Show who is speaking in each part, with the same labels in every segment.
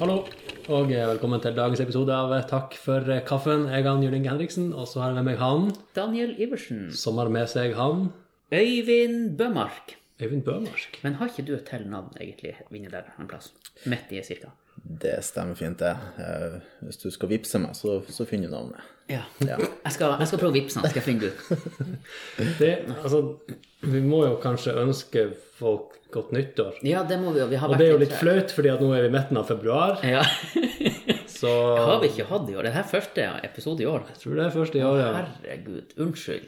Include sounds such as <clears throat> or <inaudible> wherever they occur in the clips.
Speaker 1: Hallo, og eh, velkommen til dagens episode av eh, Takk for eh, kaffen. Jeg er Jan Juling Henriksen, og så har jeg med meg han
Speaker 2: Daniel Iversen.
Speaker 1: som har med seg han
Speaker 2: Øyvind Bømark.
Speaker 1: Øyvind Børmark.
Speaker 2: Men har ikke du et til navn, egentlig, inni der en plass? Midt i, cirka.
Speaker 3: Det stemmer fint, det. Eh, Hvis du skal vippse meg, så, så finner du navnet.
Speaker 2: Ja. Jeg, skal, jeg skal prøve å vippse han, skal jeg finne det ut.
Speaker 1: Det, altså, vi må jo kanskje ønske folk godt nyttår.
Speaker 2: Ja, det må vi jo. Vi har
Speaker 1: Og
Speaker 2: vært
Speaker 1: det er jo litt flaut, fordi at nå er vi i midten av februar,
Speaker 2: Ja. <laughs>
Speaker 1: så
Speaker 2: Har vi
Speaker 1: jeg
Speaker 2: ikke hatt i år? Det her første episode i år.
Speaker 1: tror det er første i året.
Speaker 2: Herregud. Unnskyld.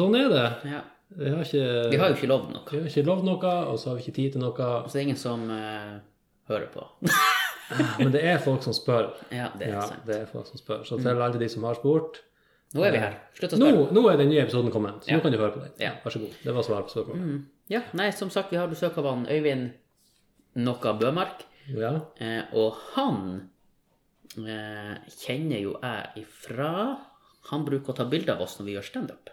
Speaker 1: Sånn er det.
Speaker 2: Ja.
Speaker 1: Vi har
Speaker 2: Vi
Speaker 1: ikke,
Speaker 2: har jo ikke lovd noe.
Speaker 1: vi har ikke lovd noe, og så har vi ikke tid til noe.
Speaker 2: Så det er ingen som eh, hører på.
Speaker 1: Men det er folk som spør.
Speaker 2: Ja, det er
Speaker 1: Ja,
Speaker 2: sant.
Speaker 1: det er folk som spør. Så til alle de som har spurt
Speaker 2: Nå er vi her. Slutt å
Speaker 1: Nå,
Speaker 2: spørre.
Speaker 1: nå er den nye episoden kommet, så
Speaker 2: Ja.
Speaker 1: nå kan du høre på den.
Speaker 2: Ja.
Speaker 1: Vær så god. Det var svar på spørsmålet.
Speaker 2: Ja, nei, som sagt, vi har besøk av han Øyvind Noka Bømark.
Speaker 1: Ja.
Speaker 2: Eh, og han eh, kjenner jo jeg ifra Han bruker å ta bilder av oss når vi gjør standup.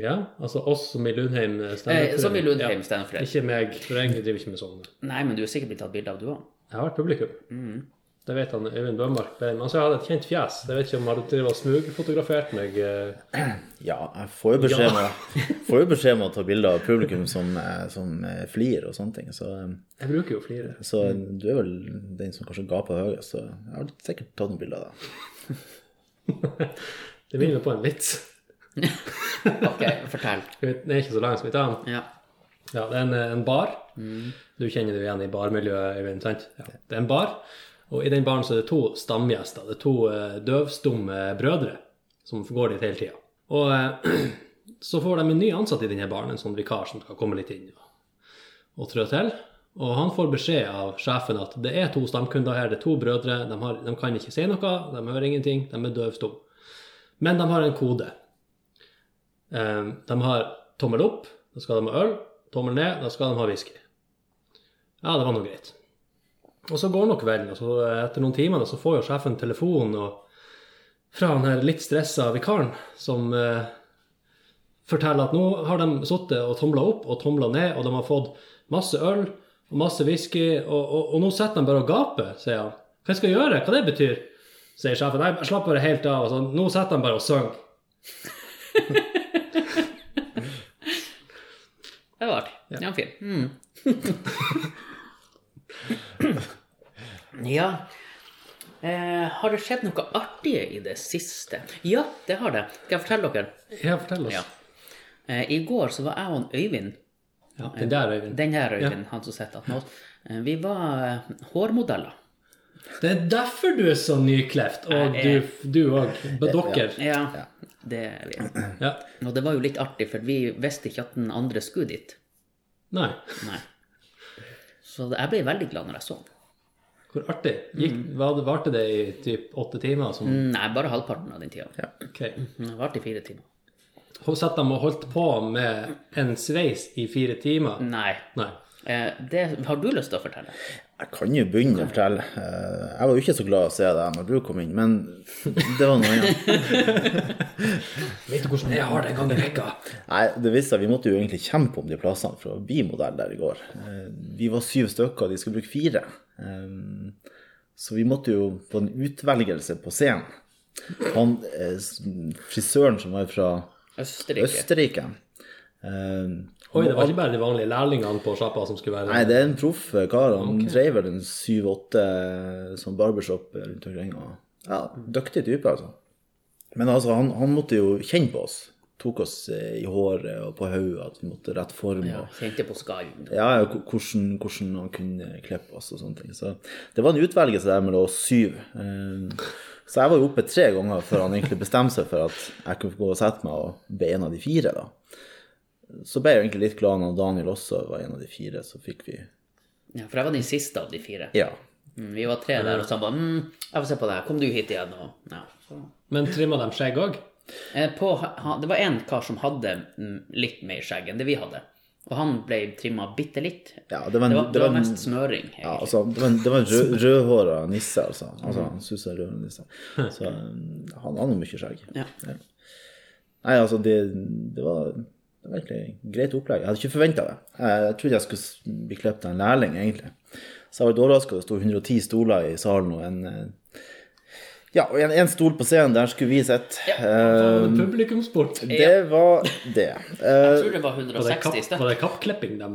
Speaker 1: ja. Altså oss som i Lundheim eh,
Speaker 2: Eh, som i Lundheim
Speaker 1: Ja.
Speaker 2: standup.
Speaker 1: Ikke meg, for jeg driver ikke med sånne.
Speaker 2: Nei, men du er sikkert blitt tatt bilde av, du òg.
Speaker 1: Jeg har vært publikum.
Speaker 2: Mm.
Speaker 1: Det vet han Øyvind Bøhmark. Men altså, jeg hadde et kjent fjes. Jeg vet ikke om han drev og smugfotografert meg. eh.
Speaker 3: Ja, jeg får jo beskjed, om, å- <laughs> får jo beskjed om å ta bilder av publikum som, eh, som eh, flir og sånne ting. Så, eh,
Speaker 1: Jeg bruker jo flire.
Speaker 3: så du er vel den som kanskje gaper høyest, så jeg har sikkert tatt noen bilder av deg.
Speaker 1: <laughs> Det minner meg på en vits.
Speaker 2: <laughs> Ok, fortell.
Speaker 1: Den er ikke så lang som vi tar den.
Speaker 2: Ja.
Speaker 1: Ja, det er en, en bar. Du kjenner det jo igjen i barmiljøet, Øyvind, sant? Ja. Det er en bar, og i den baren så er det to stamgjester. Det er to eh, døvstumme brødre som går dit hele tida. Og eh, <clears throat> så får de en ny ansatt i denne baren, en sånn vikar som skal komme litt inn og, og trå til. Og han får beskjed av sjefen at det er to stamkunder her, det er to brødre, de, har, de kan ikke si noe, de hører ingenting, de er døvstumme. Men de har en kode. Eh, De har tommel opp, da skal de ha øl. Tommel ned, da skal de ha whisky. Ja, det var nå greit. Og så går nå kvelden, og så eh, etter noen timer da, så får jo sjefen telefon og fra han her litt stressa vikaren som eh, forteller at nå har de sittet og tomla opp og tomla ned, og de har fått masse øl og masse whisky, og, og, og nå sitter de bare og gaper, sier han. Hva skal jeg gjøre? Hva det betyr? Sier sjefen. Nei, slapp bare helt av. Altså, nå sitter de bare og synger.
Speaker 2: Det var artig. Ja. fin. Mm. <laughs> ja. Eh, har det skjedd noe artige i det siste? Ja, det har det. Skal jeg fortelle dere?
Speaker 1: Ja, fortell oss.
Speaker 2: Ja. Eh, I går så var jeg og en Øyvind,
Speaker 1: Ja, den der, Øyvind.
Speaker 2: den her Øyvind, han som sitter attmed oss, eh, vi var eh, hårmodeller.
Speaker 1: Det er derfor du er så nyklipt, og
Speaker 2: Jeg
Speaker 1: du du òg. Dere.
Speaker 2: Ja, det er vi.
Speaker 1: Ja.
Speaker 2: Og det var jo litt artig, for vi visste ikke at den andre skulle dit.
Speaker 1: Nei,
Speaker 2: Nei. Så jeg ble veldig glad når jeg så den.
Speaker 1: hvor artig. Gikk,
Speaker 2: Mm.
Speaker 1: var det- Varte det i typ åtte timer? Som,
Speaker 2: Nei, bare halvparten av den tida.
Speaker 1: ok.
Speaker 2: Den varte i fire timer.
Speaker 1: Og Satt de og holdt på med en sveis i fire timer?
Speaker 2: Nei.
Speaker 1: Nei.
Speaker 2: Eh, Det har du lyst til å fortelle?
Speaker 3: Jeg kan jo begynne å fortelle. Eh, Jeg var jo ikke så glad å se deg når du kom inn, men det var noe annet.
Speaker 1: Vet du hvordan jeg har det en gang i
Speaker 2: <laughs>
Speaker 1: vekka?
Speaker 3: Nei, det viste seg, vi måtte jo egentlig kjempe om de plassene for å bli modell der i går. Eh, Vi var syv stykker, og de skulle bruke fire. Eh, Så vi måtte jo på en utvelgelse på scenen. Han, eh, s- frisøren som var fra
Speaker 2: Østerrike.
Speaker 3: Østerrike eh,
Speaker 1: Oi, det var ikke bare de vanlige lærlingene på sjappa som skulle være
Speaker 3: Nei, det er en proff eh, kar. Han drev vel en syv-åtte sånn barbershop rundt omkring. Og, ja, dyktig type, altså. Men altså, han, han måtte jo kjenne på oss. Tok oss eh, i håret og på hodet, at vi måtte rett form.
Speaker 2: Ja,
Speaker 3: Og,
Speaker 2: Kjente på skallen.
Speaker 3: ja, ja, hvor- hvordan, hvordan han kunne klippe oss og sånne ting. Så det var en utvelgelse der mellom oss syv. Eh, Så jeg var jo oppe tre ganger før han egentlig bestemte seg for at jeg kunne gå og sette meg og bli en av de fire, da. Så ble jeg jo egentlig litt glad når Daniel også var en av de fire, så fikk vi
Speaker 2: Ja, for jeg var den siste av de fire.
Speaker 3: Ja.
Speaker 2: Mm, Vi var tre der, og så han bare mm, 'Jeg får se på det her. Kom du hit igjen.' Og, ja. så.
Speaker 1: Men trimma de skjegg òg?
Speaker 2: Eh, På, han, det var en kar som hadde mm, litt mer skjegg enn det vi hadde. Og han ble trimma bitte litt.
Speaker 3: Ja, det var en-
Speaker 2: det var,
Speaker 3: det var en-
Speaker 2: mest smøring. egentlig.
Speaker 3: Ja, altså, det var en, det var en rød, rødhåra nisse, altså. altså han susa rød nisse. Så um, han hadde mye skjegg.
Speaker 2: Ja.
Speaker 3: Nei, altså, det, det var det var egentlig greit opplegg. Jeg hadde ikke forventa det. Jeg, jeg trodde jeg skulle s- bli klippet av en lærling, egentlig. Så jeg ble overraska. Det sto 110 stoler i salen, og en eh, ja, og en, en stol på scenen. Der skulle vi sitte. Eh,
Speaker 2: Um,
Speaker 1: en publikumsport.
Speaker 3: det var det.
Speaker 2: Jeg
Speaker 3: Eh,
Speaker 2: tror det var
Speaker 1: Var det,
Speaker 2: 160 i
Speaker 1: kapp,
Speaker 2: sted.
Speaker 1: var det kappklipping? De,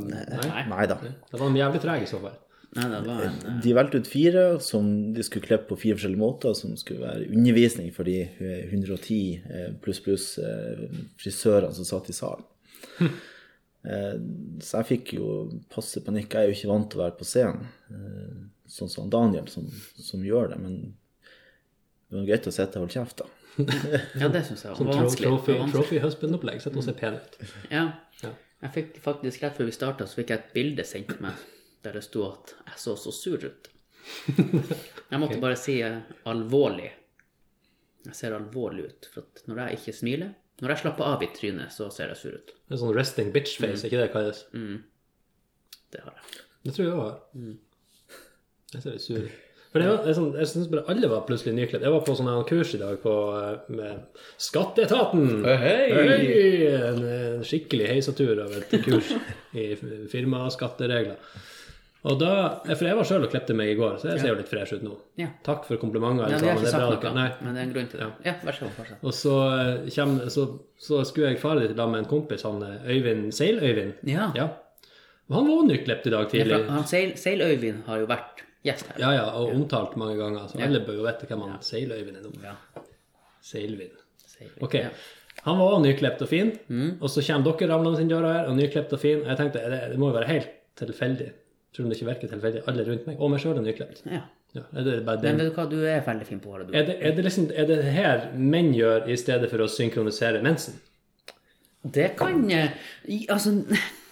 Speaker 1: nei.
Speaker 3: nei da.
Speaker 1: Da var de jævlig trege i så fall.
Speaker 2: Nei, det var en
Speaker 3: De valgte ut fire som de skulle klippe på fire forskjellige måter, som skulle være undervisning for de 110 eh, pluss pluss eh, frisørene som satt
Speaker 2: <laughs>
Speaker 3: i salen. Eh, Så jeg fikk jo passe panikk. Jeg er jo ikke vant til å være på scenen, eh, sånn som Daniel, som, som gjør det. Men det var greit å sitte og holde kjeft, da.
Speaker 2: Ja, det syns jeg var
Speaker 1: Sånn tro-
Speaker 2: vanskelig. Det
Speaker 1: trophy,
Speaker 2: var vanskelig. Mm.
Speaker 1: trophy husband-opplegg. Sett og se pen ut.
Speaker 2: Ja.
Speaker 1: Ja.
Speaker 2: Jeg fikk faktisk rett før vi starta, så fikk jeg et bilde sendt til meg der det sto at jeg så så sur ut. Jeg måtte bare si eh, alvorlig. Jeg ser alvorlig ut. For at når jeg ikke smiler, når jeg slapper av i trynet, så ser jeg sur ut.
Speaker 1: Det er sånn resting
Speaker 2: Mm.
Speaker 1: bitch-face, ikke det det kalles?
Speaker 2: Det har jeg.
Speaker 1: Det tror jeg jeg var.
Speaker 2: Mm.
Speaker 1: Jeg ser litt sur ut. For det var, det er sånn, jeg syns bare alle var plutselig nykledd. Jeg var på sånn her kurs i dag på, eh, med Skatteetaten. Hei! En, en skikkelig heisatur av et kurs i f- firmaskatteregler. Og da, For jeg var sjøl og klippte meg i går, så jeg ser jo litt fresh ut nå.
Speaker 2: Ja.
Speaker 1: Takk for komplimenter.
Speaker 2: Ja,
Speaker 1: alle
Speaker 2: vi
Speaker 1: sammen,
Speaker 2: har ikke
Speaker 1: det er
Speaker 2: sagt
Speaker 1: bra
Speaker 2: noe,
Speaker 1: dere- Nei.
Speaker 2: men det er en grunn til det. Ja, vær så god, fortsett.
Speaker 1: Og så, eh, kjem, så, så skulle jeg fare dit da med en kompis, han eh, Øyvind Seil-Øyvind.
Speaker 2: Ja.
Speaker 1: Ja. Og Han var nyklipt i dag
Speaker 2: Ja,
Speaker 1: tidlig.
Speaker 2: for han Seil, Seil Øyvind har jo vært gjest her.
Speaker 1: Ja, ja, og omtalt mange ganger, så alle bør jo vite hvem han Seil-Øyvind er nå.
Speaker 2: Ja.
Speaker 1: Seilvind.
Speaker 2: Seil.
Speaker 1: Ok. Han var også nyklipt og fin,
Speaker 2: Mm.
Speaker 1: og så kommer dere ramlende inn døra her, og nyklipt og fin. Og jeg tenkte, det, det må jo være helt tilfeldig. Tror du det ikke virker tilfeldig? Alle rundt meg, og meg sjøl, er nyklipt.
Speaker 2: Ja.
Speaker 1: Ja, er det bare
Speaker 2: Men
Speaker 1: den?
Speaker 2: vet du hva, du er veldig fin på håret, du.
Speaker 1: Er det, er det liksom er det her menn gjør i stedet for å synkronisere mensen?
Speaker 2: Det kan eh, i- Altså <laughs>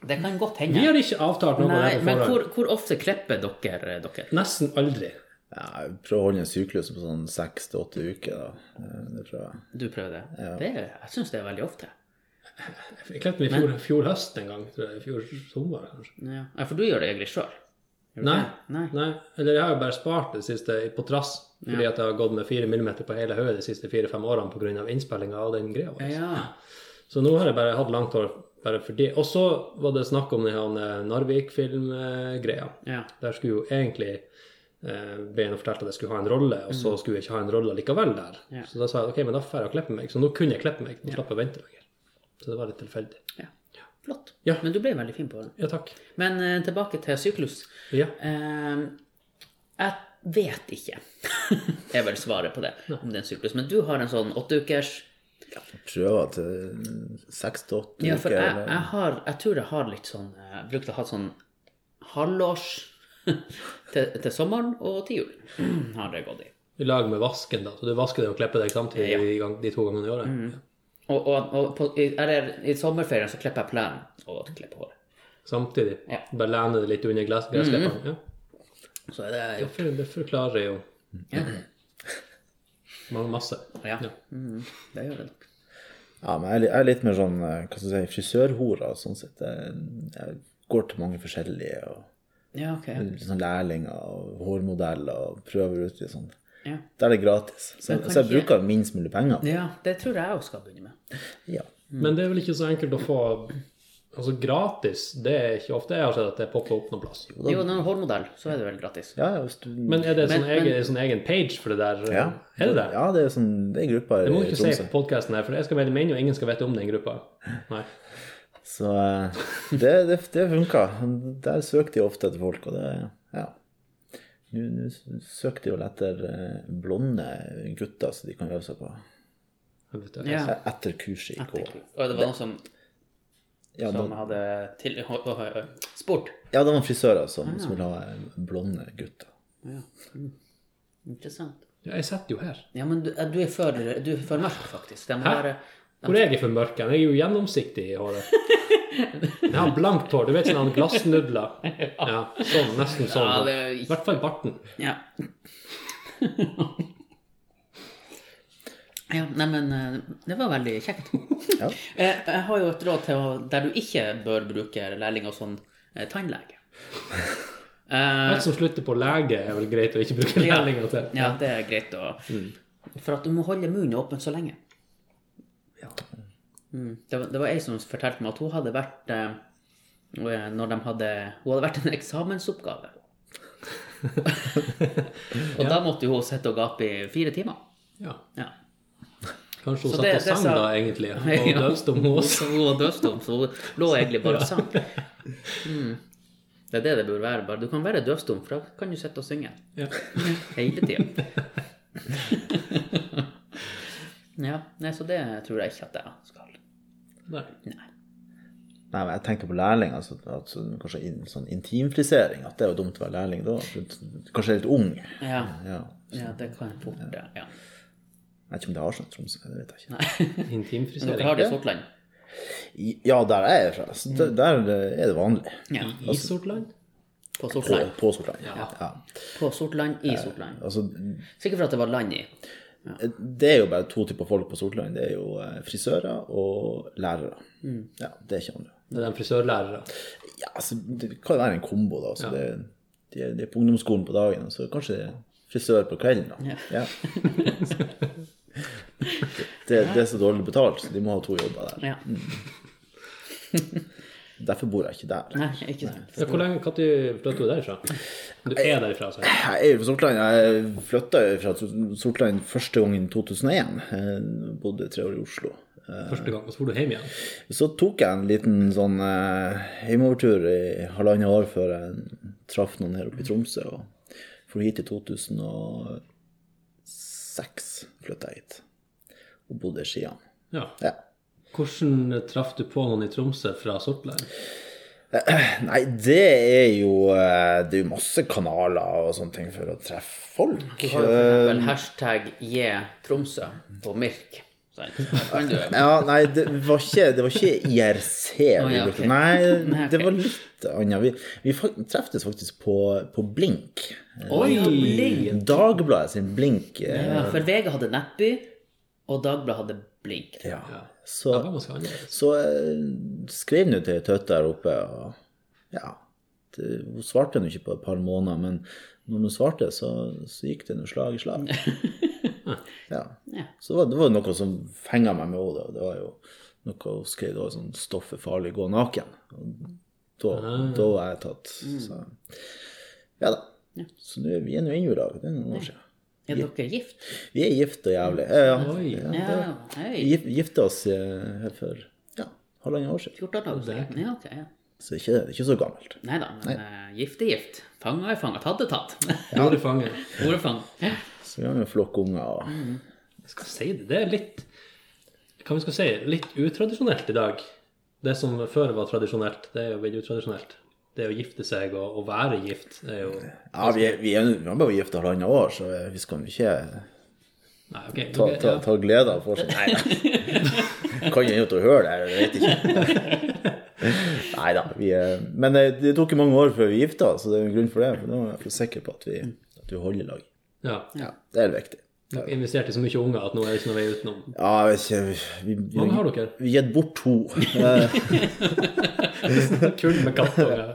Speaker 2: Det kan godt hende.
Speaker 1: Vi har ikke avtalt noe om det
Speaker 2: Nei,
Speaker 1: på
Speaker 2: men
Speaker 1: forhånd.
Speaker 2: hvor, hvor ofte klipper dere eh, dere?
Speaker 1: Nesten aldri.
Speaker 3: Ja, Jeg prøver å holde en syklus på sånn seks til åtte uker, da. Eh, Det prøver jeg.
Speaker 2: Du prøver det? det jeg syns det er veldig ofte.
Speaker 1: Jeg klipte meg i fjor, fjor høst en gang, tror jeg. I fjor sommer, kanskje.
Speaker 2: Ja, Ja, for du gjør det egentlig sjøl?
Speaker 1: Nei.
Speaker 2: Nei.
Speaker 1: Nei. Eller jeg har jo bare spart det siste på trass, fordi at jeg har gått med 4 millimeter på hele hodet de siste fire-fem årene pga. innspillinga av den greia vår.
Speaker 2: Ja.
Speaker 1: Så nå har jeg bare hatt langt hår bare fordi Og så var det snakk om den her, eh, Narvik-filmgreia.
Speaker 2: ja.
Speaker 1: Der skulle jo egentlig eh, Bein fortalte at jeg skulle ha en rolle, og så skulle jeg ikke ha en rolle likevel der.
Speaker 2: Mm. Ja.
Speaker 1: Så da sa jeg ok, men da får jeg klippe meg. Så nå kunne jeg klippe meg. Nå slapp jeg å vente lenger. Så det var litt tilfeldig.
Speaker 2: ja. Flott.
Speaker 1: Ja.
Speaker 2: Men du ble veldig fin på håret.
Speaker 1: Ja, takk.
Speaker 2: Men eh, tilbake til syklus.
Speaker 1: Ja.
Speaker 2: Eh, jeg vet ikke. <laughs> Det er vel svaret på det. Om det er en syklus. Men du har en sånn åtteukers
Speaker 3: Prøver til seks til åtte
Speaker 2: Ja, for
Speaker 3: uker.
Speaker 2: jeg,
Speaker 3: eller-
Speaker 2: jeg, har, jeg tror jeg har litt sånn Jeg brukte å ha sånn halvårs <laughs> til, til sommeren og til jul. Har det gått i.
Speaker 1: I lag med vasken, da. Så du vasker deg og klipper deg samtidig
Speaker 2: Ja. Mm.
Speaker 1: de, gang, de to gangene i året.
Speaker 2: Og, og, og på, i, eller, i sommerferien så klipper jeg plenen og klipper håret.
Speaker 1: Samtidig.
Speaker 2: Ja. Mhm.
Speaker 1: Bare lene det litt under glass- gressklipperen. ja.
Speaker 2: Så er det
Speaker 1: Det for- Det forklarer jo
Speaker 2: Ja.
Speaker 1: mange masse.
Speaker 2: ja. Mhm, det gjør det nok.
Speaker 3: Ja, men jeg er litt- jeg er litt mer sånn eh, hva skal jeg si, frisørhora sånn sett. Jeg, jeg går til mange forskjellige og
Speaker 2: Ja, ok.
Speaker 3: litt sånn lærlinger og hårmodeller og prøver ut litt sånn.
Speaker 2: Ja.
Speaker 3: Der er det gratis. Så,
Speaker 2: Men kan
Speaker 3: så jeg
Speaker 2: ikke-
Speaker 3: bruker minst mulig penger.
Speaker 2: ja, det tror jeg òg skal begynne med.
Speaker 3: Ja.
Speaker 2: Mhm.
Speaker 1: Men det er vel ikke så enkelt å få Altså gratis, det er ikke ofte jeg har sett at det popper opp noen plass.
Speaker 2: Jo, når en hårmodell, så er det vel gratis.
Speaker 3: Ja, ja, hvis du
Speaker 1: Men er det
Speaker 2: Men-
Speaker 1: sånn, egen,
Speaker 2: men-
Speaker 1: sånn egen page for det der?
Speaker 3: ja.
Speaker 1: Er det det?
Speaker 3: Ja, det er sånn, det er grupper
Speaker 1: Det må du
Speaker 3: i
Speaker 1: ikke si
Speaker 3: Tromsø.
Speaker 1: på podkasten her, for jeg skal melde meg inn, og ingen skal vite om den gruppa. Nei.
Speaker 3: Så eh, det, det, det funka. Der søker de ofte etter folk, og det Ja. Nå nå søker de vel etter eh, blonde gutter som de kan øve seg på. E-,
Speaker 1: Jeg vet ikke.
Speaker 2: Ja.
Speaker 3: Etter kurset i
Speaker 2: Og
Speaker 3: KA.
Speaker 2: det var noen som,
Speaker 3: Ja, da-
Speaker 2: som hadde til, hå- hå- hå- spurt.
Speaker 3: Ja, det var frisører som, som ville ha eh, blonde gutter.
Speaker 2: Interessant.
Speaker 1: Ja, jeg sitter jo her.
Speaker 2: Ja, men du, du er for, du er for mørk, faktisk. Det må
Speaker 1: Hæ?
Speaker 2: være
Speaker 1: Hvor er jeg for mørk? hen? Jeg er jo gjennomsiktig i
Speaker 2: <laughs>
Speaker 1: håret. Jeg har blankt hår. Du vet sånn glassnudler. Ja, sånn, nesten sånn.
Speaker 2: Ja, det er
Speaker 1: I
Speaker 2: ikke-
Speaker 1: hvert fall barten.
Speaker 2: Ja. ja, nei, men eh, det var veldig kjekt.
Speaker 3: Ja.
Speaker 2: Eh, Jeg har jo et råd til å, der du ikke bør bruke lærling og sånn eh, <laughs> tannlege. Eh,
Speaker 1: Alt som slutter på lege, er vel greit å ikke bruke
Speaker 2: Ja.
Speaker 1: lærlinger til.
Speaker 2: ja, det er greit å For at du må holde munnen åpen så lenge. Mm. Det, var, det var ei som eh, fortalte meg at hun hadde vært eh, Når de hadde Hun hadde vært en eksamensoppgave. Og da måtte jo hun sitte og gape i fire timer.
Speaker 1: Ja.
Speaker 2: Ja.
Speaker 1: Kanskje hun
Speaker 2: Så
Speaker 1: satt
Speaker 2: det-
Speaker 1: og
Speaker 2: det
Speaker 1: sang
Speaker 2: sa-
Speaker 1: da,
Speaker 2: <laughs>
Speaker 1: egentlig. Og
Speaker 2: Ja.
Speaker 1: døvstum hun også.
Speaker 2: Så hun var døvstum, så hun lå egentlig bare og sang. Mm. Det er det det bør være. Bare. Du kan være døvstum, for da kan du sitte og synge
Speaker 1: Ja.
Speaker 2: hele tida. <laughs> Ja, nei, så det tror jeg ikke at jeg skal.
Speaker 1: Nei.
Speaker 3: Nei, men jeg tenker på lærling, altså, at, sånn- kanskje inn, sånn intimfrisering, at det er jo dumt å være lærling da. at du- Kanskje er litt ung.
Speaker 2: Ja,
Speaker 3: Ja.
Speaker 2: ja det kan jeg fort, ja. ja.
Speaker 3: Jeg vet ikke om det har sånn i Tromsø, det vet jeg ikke.
Speaker 2: Men
Speaker 1: Intimfrisering.
Speaker 2: <laughs> dere har det i Sortland?
Speaker 3: I- Ja, der er jeg fra. Så der, der er det vanlig.
Speaker 2: Ja,
Speaker 1: I Sortland?
Speaker 2: på
Speaker 3: På,
Speaker 2: Sortland.
Speaker 3: på Sortland. Ja.
Speaker 2: På Sortland, i Sortland.
Speaker 3: Altså,
Speaker 2: Sikkert for at det var land i.
Speaker 3: det er jo bare to typer folk på Sortland. Det er jo eh, frisører og lærere. Ja, det er ikke andre.
Speaker 1: Det er de frisørlærere.
Speaker 3: Ja, altså, det kan jo være en kombo, da. Så det, de, er, de er på ungdomsskolen på dagen, og så kanskje det er frisør på kvelden, da.
Speaker 2: <laughs>
Speaker 3: Ja. det, det er så dårlig betalt, så de må ha to jobber der.
Speaker 2: Ja.
Speaker 3: Derfor bor jeg ikke der.
Speaker 2: Nei, ikke sant.
Speaker 1: Ja, hvor lenge Når flyttet du derifra? Du er altså. derifra, sa jeg.
Speaker 3: Jeg er jo fra Sortland. Jeg flytta fra Sortland første gang i 2001. Jeg bodde tre år i Oslo.
Speaker 1: Første gang. Og så for du hjem igjen.
Speaker 3: Så tok jeg en liten sånn eh, hjemovertur i halvannet år før jeg traff noen her oppe i Tromsø. Og for hit i 2006 flytta jeg hit og bodde i Skian.
Speaker 1: Ja.
Speaker 3: Ja.
Speaker 1: Hvordan traff du på noen i Tromsø fra Sortland?
Speaker 3: Nei, det er jo eh, Det er jo masse kanaler og sånne ting for å treffe folk.
Speaker 2: Du har jo for eksempel hashtag je Tromsø på Mirk. Sant? Da kan du-
Speaker 3: Ja, nei, det var ikke, det var ikke IRC. vi
Speaker 2: ja, ok.
Speaker 3: brukte. Nei,
Speaker 2: <laughs> Nei,
Speaker 3: det
Speaker 2: ok.
Speaker 3: var litt annet. Vi, vi fak- treftes faktisk på, på Blink.
Speaker 1: Oi!
Speaker 3: Dagbladet sin Blink. eh,
Speaker 2: <laughs> Ja, for VG hadde Nettby, og Dagbladet hadde Blink.
Speaker 3: Ja.
Speaker 1: Det var
Speaker 3: Så,
Speaker 1: ganske annerledes.
Speaker 3: så eh, skrev hun til Tøtte der oppe, og ja det, Hun svarte nå ikke på et par måneder, men når hun svarte, så, så gikk det noe slag i <laughs> slag. Ja.
Speaker 2: Ja.
Speaker 3: Så det var, det var noe som fenga meg med henne. da. Det var jo noe hun skrev da, sånn 'Stoff er farlig, gå naken'. Og da, da var jeg tatt. Så ja da. Så nå er vi er nå inne i lag. Det er noen år siden.
Speaker 2: Er dere gift?
Speaker 3: Vi er gift og jævlig. Ja,
Speaker 1: Oi.
Speaker 3: ja. Ja.
Speaker 2: Ja,
Speaker 3: Vi
Speaker 2: hei.
Speaker 3: gif- gifte oss eh, her for ja, halvannet år siden.
Speaker 2: 14 dager siden. Ja, ok. Ja.
Speaker 3: Så ikke, det er ikke så gammelt.
Speaker 2: Nei da, men eh, gift er gift. Fanga er fanga. Tatt er tatt. <laughs>
Speaker 1: Nå er du fanget.
Speaker 2: Ordet fang.
Speaker 3: Så vi har jo en flokk unger.
Speaker 1: Mm.
Speaker 3: Og...
Speaker 1: Jeg skal si det. Det er litt Hva vi skal si? Litt utradisjonelt i dag. Det som før var tradisjonelt, det er jo blitt utradisjonelt. Det å gifte seg og, og være gift er jo
Speaker 3: Ja, vi, er- vi, er, vi har bare gift halvannet år, så eh, vi skal jo ikke
Speaker 1: Nei, OK.
Speaker 3: ta,
Speaker 1: ok,
Speaker 3: ta,
Speaker 1: ja.
Speaker 3: ta glede av fortsatt. Nei da.
Speaker 1: <laughs>
Speaker 3: Kan jeg jo til å høre det her, jeg vet ikke. Nei da. Vi, er- men det, det tok jo mange år før vi gifta oss, så det er jo en grunn for det. For nå er jeg sikker på at vi,
Speaker 1: Mm.
Speaker 3: at vi holder lag.
Speaker 1: ja.
Speaker 3: Det er viktig.
Speaker 1: Dere investerte i så mye unger at nå er det ikke noe vei utenom.
Speaker 3: Ja, jeg vet ikke Vi, vi,
Speaker 1: Hvor mange
Speaker 3: vi,
Speaker 1: har dere?
Speaker 3: vi gitt bort to.
Speaker 1: Kull med
Speaker 3: <laughs>
Speaker 1: kattunger.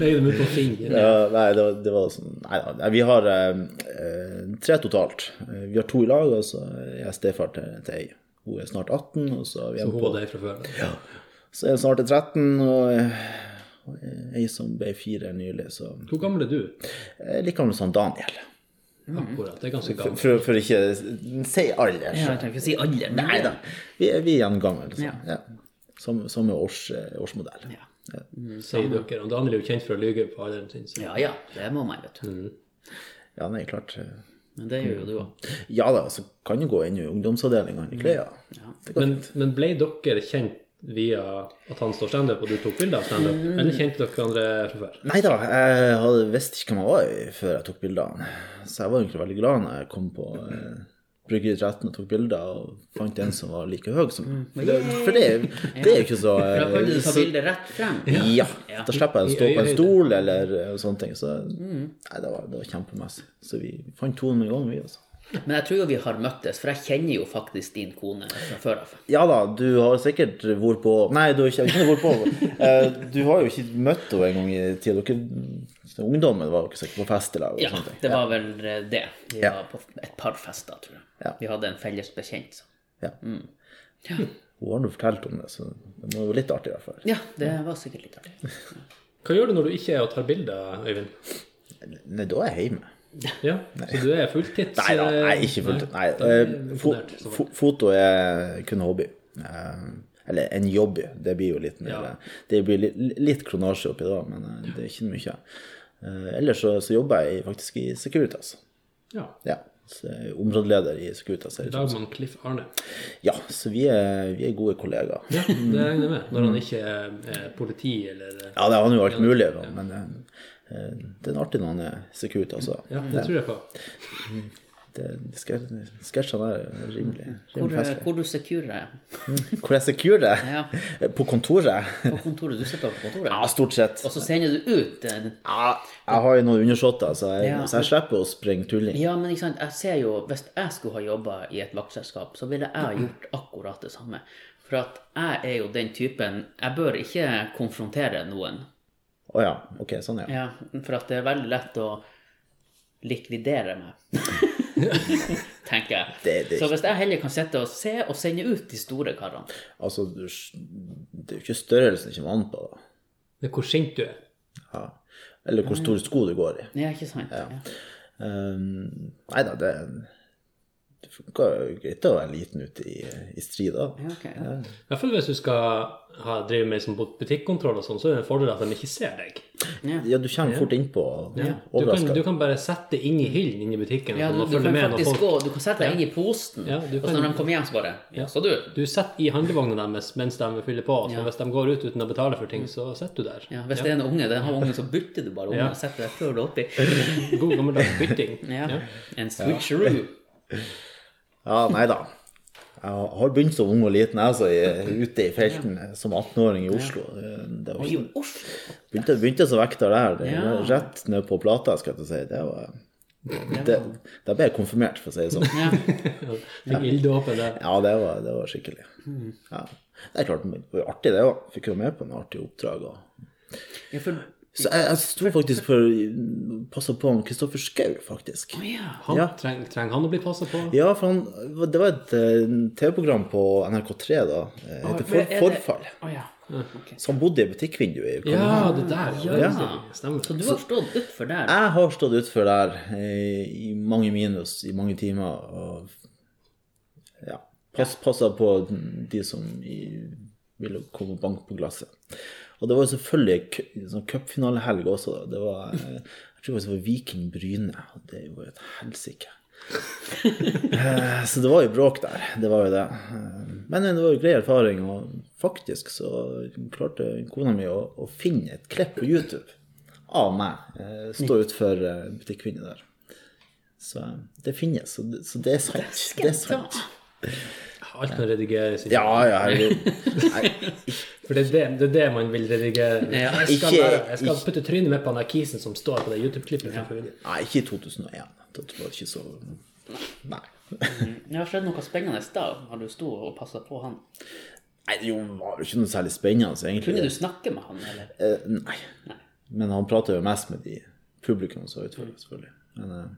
Speaker 1: Legg dem ut på fingeren.
Speaker 3: Ja, nei, det var, det var sånn Nei da. nei, Vi har eh, eh, tre totalt. Eh, Vi har to i lag, og så er jeg stefar til, til ei. Hun er snart 18, og så er vi en
Speaker 1: Hun
Speaker 3: på
Speaker 1: og deg fra før. Ja.
Speaker 3: Så er hun snart til 13, og eh, og ei som ble fire nylig, så
Speaker 1: Hvor gammel er du?
Speaker 3: eh, Like gammel som Daniel. Mm.
Speaker 1: Akkurat. Det er ganske gammelt.
Speaker 3: For, for ikke si alder.
Speaker 2: Ja,
Speaker 3: så-
Speaker 2: jeg trenger ikke si alder. men-
Speaker 3: Nei da. Vi, er- vi er gjengammel.
Speaker 2: Ja.
Speaker 3: Ja. Ja. Som, som er års, eh, årsmodell.
Speaker 2: Ja.
Speaker 1: Sier dere. Og Daniel er jo kjent for å lyve på alderen sin. Så.
Speaker 2: ja ja, det må man, vet
Speaker 3: Mm.
Speaker 2: du.
Speaker 3: Ja, nei, klart. eh,
Speaker 2: Men det gjør jo du òg.
Speaker 3: Ja da, så kan det gå inn i ungdomsavdelinga i klær. Det går
Speaker 1: Men, men ble dere kjent via at han står standup, og du tok bilde av standup?
Speaker 3: Mm.
Speaker 1: Eller kjente dere andre fra før?
Speaker 3: Nei da, jeg hadde visste ikke hvem jeg var i før jeg tok bildene. Så jeg var egentlig veldig glad når jeg kom på eh, Bryggeri 13 og tok bilder og fant en som var like høy som meg. For det, for det, det er jo ikke så
Speaker 2: Da Mm. kan du
Speaker 3: eh,
Speaker 2: ta
Speaker 3: så-
Speaker 2: bildet rett frem.
Speaker 3: Ja. Da slipper jeg å stå på en
Speaker 1: øyehøyde.
Speaker 3: stol eller eh, sånne ting. Så
Speaker 2: Mm.
Speaker 3: nei, det var, det var kjempemessig. Så vi fant tonen med en gang, vi altså. også.
Speaker 2: Men jeg tror jo vi har møttes, for jeg kjenner jo faktisk din kone fra før av.
Speaker 3: Ja da, du har sikkert vært på Nei, du har ikke, ikke vært på Eh, Du har jo ikke møtt henne en gang i tida. Dere Ungdommen var jo ikke sikkert på fest i lag. og
Speaker 2: Ja,
Speaker 3: sånne ting.
Speaker 2: det var vel eh, det. Vi
Speaker 3: Ja.
Speaker 2: var på et par fester, tror jeg.
Speaker 3: Ja.
Speaker 2: Vi hadde en felles bekjent. Så.
Speaker 3: Ja. Hun har nå fortalt om det, så det må jo være litt artig i hvert fall.
Speaker 2: Ja, det var sikkert litt artig.
Speaker 1: Hva gjør du når du ikke er og tar bilder, Øyvind?
Speaker 3: Nei, da er jeg hjemme.
Speaker 1: Ja, Så du er fulltids...
Speaker 3: Nei da,
Speaker 1: eh,
Speaker 3: nei, ikke fullt ut. Nei.
Speaker 1: da er
Speaker 3: eh,
Speaker 1: jeg
Speaker 3: fo
Speaker 1: imponert, så
Speaker 3: fo foto er kun hobby. Eh, Eller en jobby. Det blir jo litt mer
Speaker 1: Ja.
Speaker 3: Det blir litt, litt kronasje oppi da, men eh, det er ikke mye. Eh, Ellers så, så jobber jeg faktisk i Securitas.
Speaker 1: Ja.
Speaker 3: Ja. Så jeg er områdeleder i Securitas. her i Tromsø.
Speaker 1: Lagmann Cliff Arne.
Speaker 3: Ja, så vi er, vi er gode kollegaer.
Speaker 1: Ja, det regner jeg med. Når
Speaker 3: Mm.
Speaker 1: han ikke er eh, politi eller eh,
Speaker 3: Ja, det er han jo alt mulig, da, men eh, eh, det er en artig når han er Securitas. altså. da.
Speaker 1: Ja, det tror jeg på.
Speaker 3: Det- de ske- Sketsjene eh, der er rimelig,
Speaker 2: Hvor, eh,
Speaker 3: rimelig festlige.
Speaker 2: hvor du securer deg
Speaker 3: Hvor jeg securer?
Speaker 2: Ja.
Speaker 3: På kontoret?
Speaker 2: på kontoret. Du sitter på kontoret,
Speaker 3: Ja, stort sett.
Speaker 2: og så sender du ut eh,
Speaker 3: Ja, jeg har jo noen undersåtter, så, jeg-
Speaker 2: Ja.
Speaker 3: så jeg slipper å springe tulling.
Speaker 2: Ja, men ikke sant, jeg ser jo, hvis jeg skulle ha jobba i et vaktselskap, så ville jeg gjort akkurat det samme. For at jeg er jo den typen Jeg bør ikke konfrontere noen.
Speaker 3: Å ja, ok, sånn ja.
Speaker 2: Ja, for at det er veldig lett å likvidere meg. Tenker jeg.
Speaker 3: Det- det-
Speaker 2: Så hvis jeg heller kan sitte og se og sende ut de store karene
Speaker 3: Altså, du- det er jo ikke størrelsen det kommer an på, da.
Speaker 1: Men hvor sint du er.
Speaker 3: Ja. Eller hvor store sko du går i.
Speaker 2: Ja, ikke sant? Ja.
Speaker 3: Um, nei da, det Det funka jo greit å være liten ute i, i strid, da.
Speaker 2: Ja, ok, ja.
Speaker 1: I hvert fall hvis du skal ha, drive med sånn butikkontroll og sånn, så er det en fordel at de ikke ser deg.
Speaker 3: Ja, du kommer fort innpå og
Speaker 1: Du kan,
Speaker 3: overrasker.
Speaker 1: du kan bare sette det inn i hyllen inne i butikken
Speaker 2: Ja,
Speaker 1: og
Speaker 2: du,
Speaker 1: sånn, og
Speaker 2: du
Speaker 1: følge
Speaker 2: kan
Speaker 1: med når
Speaker 2: faktisk
Speaker 1: folk
Speaker 2: gå, du kan sette deg inn i posten,
Speaker 1: Ja, du
Speaker 2: og så
Speaker 1: kan-
Speaker 2: når de kommer hjem, så bare Ja, så du?
Speaker 1: Du sitter i handlevogna deres mens de fyller på. Så hvis de går ut uten å betale for ting, så sitter du der.
Speaker 2: Ja, hvis det er en unge, den har ungen, så bytter du bare ungen
Speaker 1: Ja.
Speaker 2: og setter deg før du <laughs> er 80.
Speaker 1: God gammeldags bytting.
Speaker 2: <laughs> Ja. En switcheroo.
Speaker 3: Ja, nei da. Jeg har begynt som ung og liten, jeg, altså, i- ute i felten som 18-åring i Oslo. Eh, Det var
Speaker 2: Oi,
Speaker 3: ikke,
Speaker 2: uff.
Speaker 3: begynte, begynte som vekter der. Det,
Speaker 2: Ja.
Speaker 3: Rett ned på plata, skal jeg til å si. Det var, det, da ble jeg konfirmert, for å si det sånn.
Speaker 2: Ja.
Speaker 1: Fikk ilddåpen der.
Speaker 3: Ja, det var, det var skikkelig. Ja. Det er klart, det var jo artig det òg. Fikk jo med på noen artige oppdrag. Og.
Speaker 2: Ja, for, <laughs>
Speaker 3: Så jeg, jeg sto faktisk for passa på han Kristoffer Schou, faktisk.
Speaker 2: ja.
Speaker 1: Han,
Speaker 3: Ja.
Speaker 1: treng, trenger han å bli passa på?
Speaker 3: Ja, for han, det var et eh, TV-program på NRK3 da. eh,
Speaker 2: Men
Speaker 3: heter
Speaker 2: er
Speaker 3: For,
Speaker 2: det-
Speaker 3: Forfall.
Speaker 2: Å ja. ok.
Speaker 3: Så han bodde i butikkvinduet. i Ukraina.
Speaker 1: Ja, det der. Ja,
Speaker 3: Ja.
Speaker 1: det Stemmer.
Speaker 2: Så du har stått utfor der?
Speaker 3: Jeg har stått utfor der eh, i mange minus i mange timer og ja, pass, passa på de som i, ville komme og banke på glasset. Og det var jo selvfølgelig cu- sånn cupfinalehelg også. Da. Det var, eh, jeg tror faktisk det var Viking Bryne, og det var jo et helsike. Eh, så det var jo bråk der. Det var jo det. Eh, Men det var jo grei erfaring, og faktisk så klarte kona mi å, å finne et klipp på YouTube av meg. eh, Stå utfor eh, butikkvinduet der. Så eh, det finnes, så det, så det er sant. Det er sant.
Speaker 1: Alt kan redigeres. i-
Speaker 3: Ja, ja, herregud.
Speaker 1: For det er det, det er det man vil redigere.
Speaker 2: Ja.
Speaker 1: Jeg skal,
Speaker 3: Ikke-
Speaker 1: bare, jeg skal
Speaker 3: ikke-
Speaker 1: putte trynet mitt på den der kisen som står på det YouTube-klippet. fra forrige uke.
Speaker 3: Nei, ikke i 2001. Da var det ikke så Nei.
Speaker 2: Det har skjedd noe spennende i stad. Har du stått og passa på han?
Speaker 3: Nei, det var jo ikke noe særlig spennende,
Speaker 2: Kunne
Speaker 3: egentlig.
Speaker 2: du snakke med han, eller?
Speaker 3: Eh, Nei. Men han prata jo mest med de publikum som var
Speaker 2: Mm.
Speaker 3: utfor, selvfølgelig. Men eh,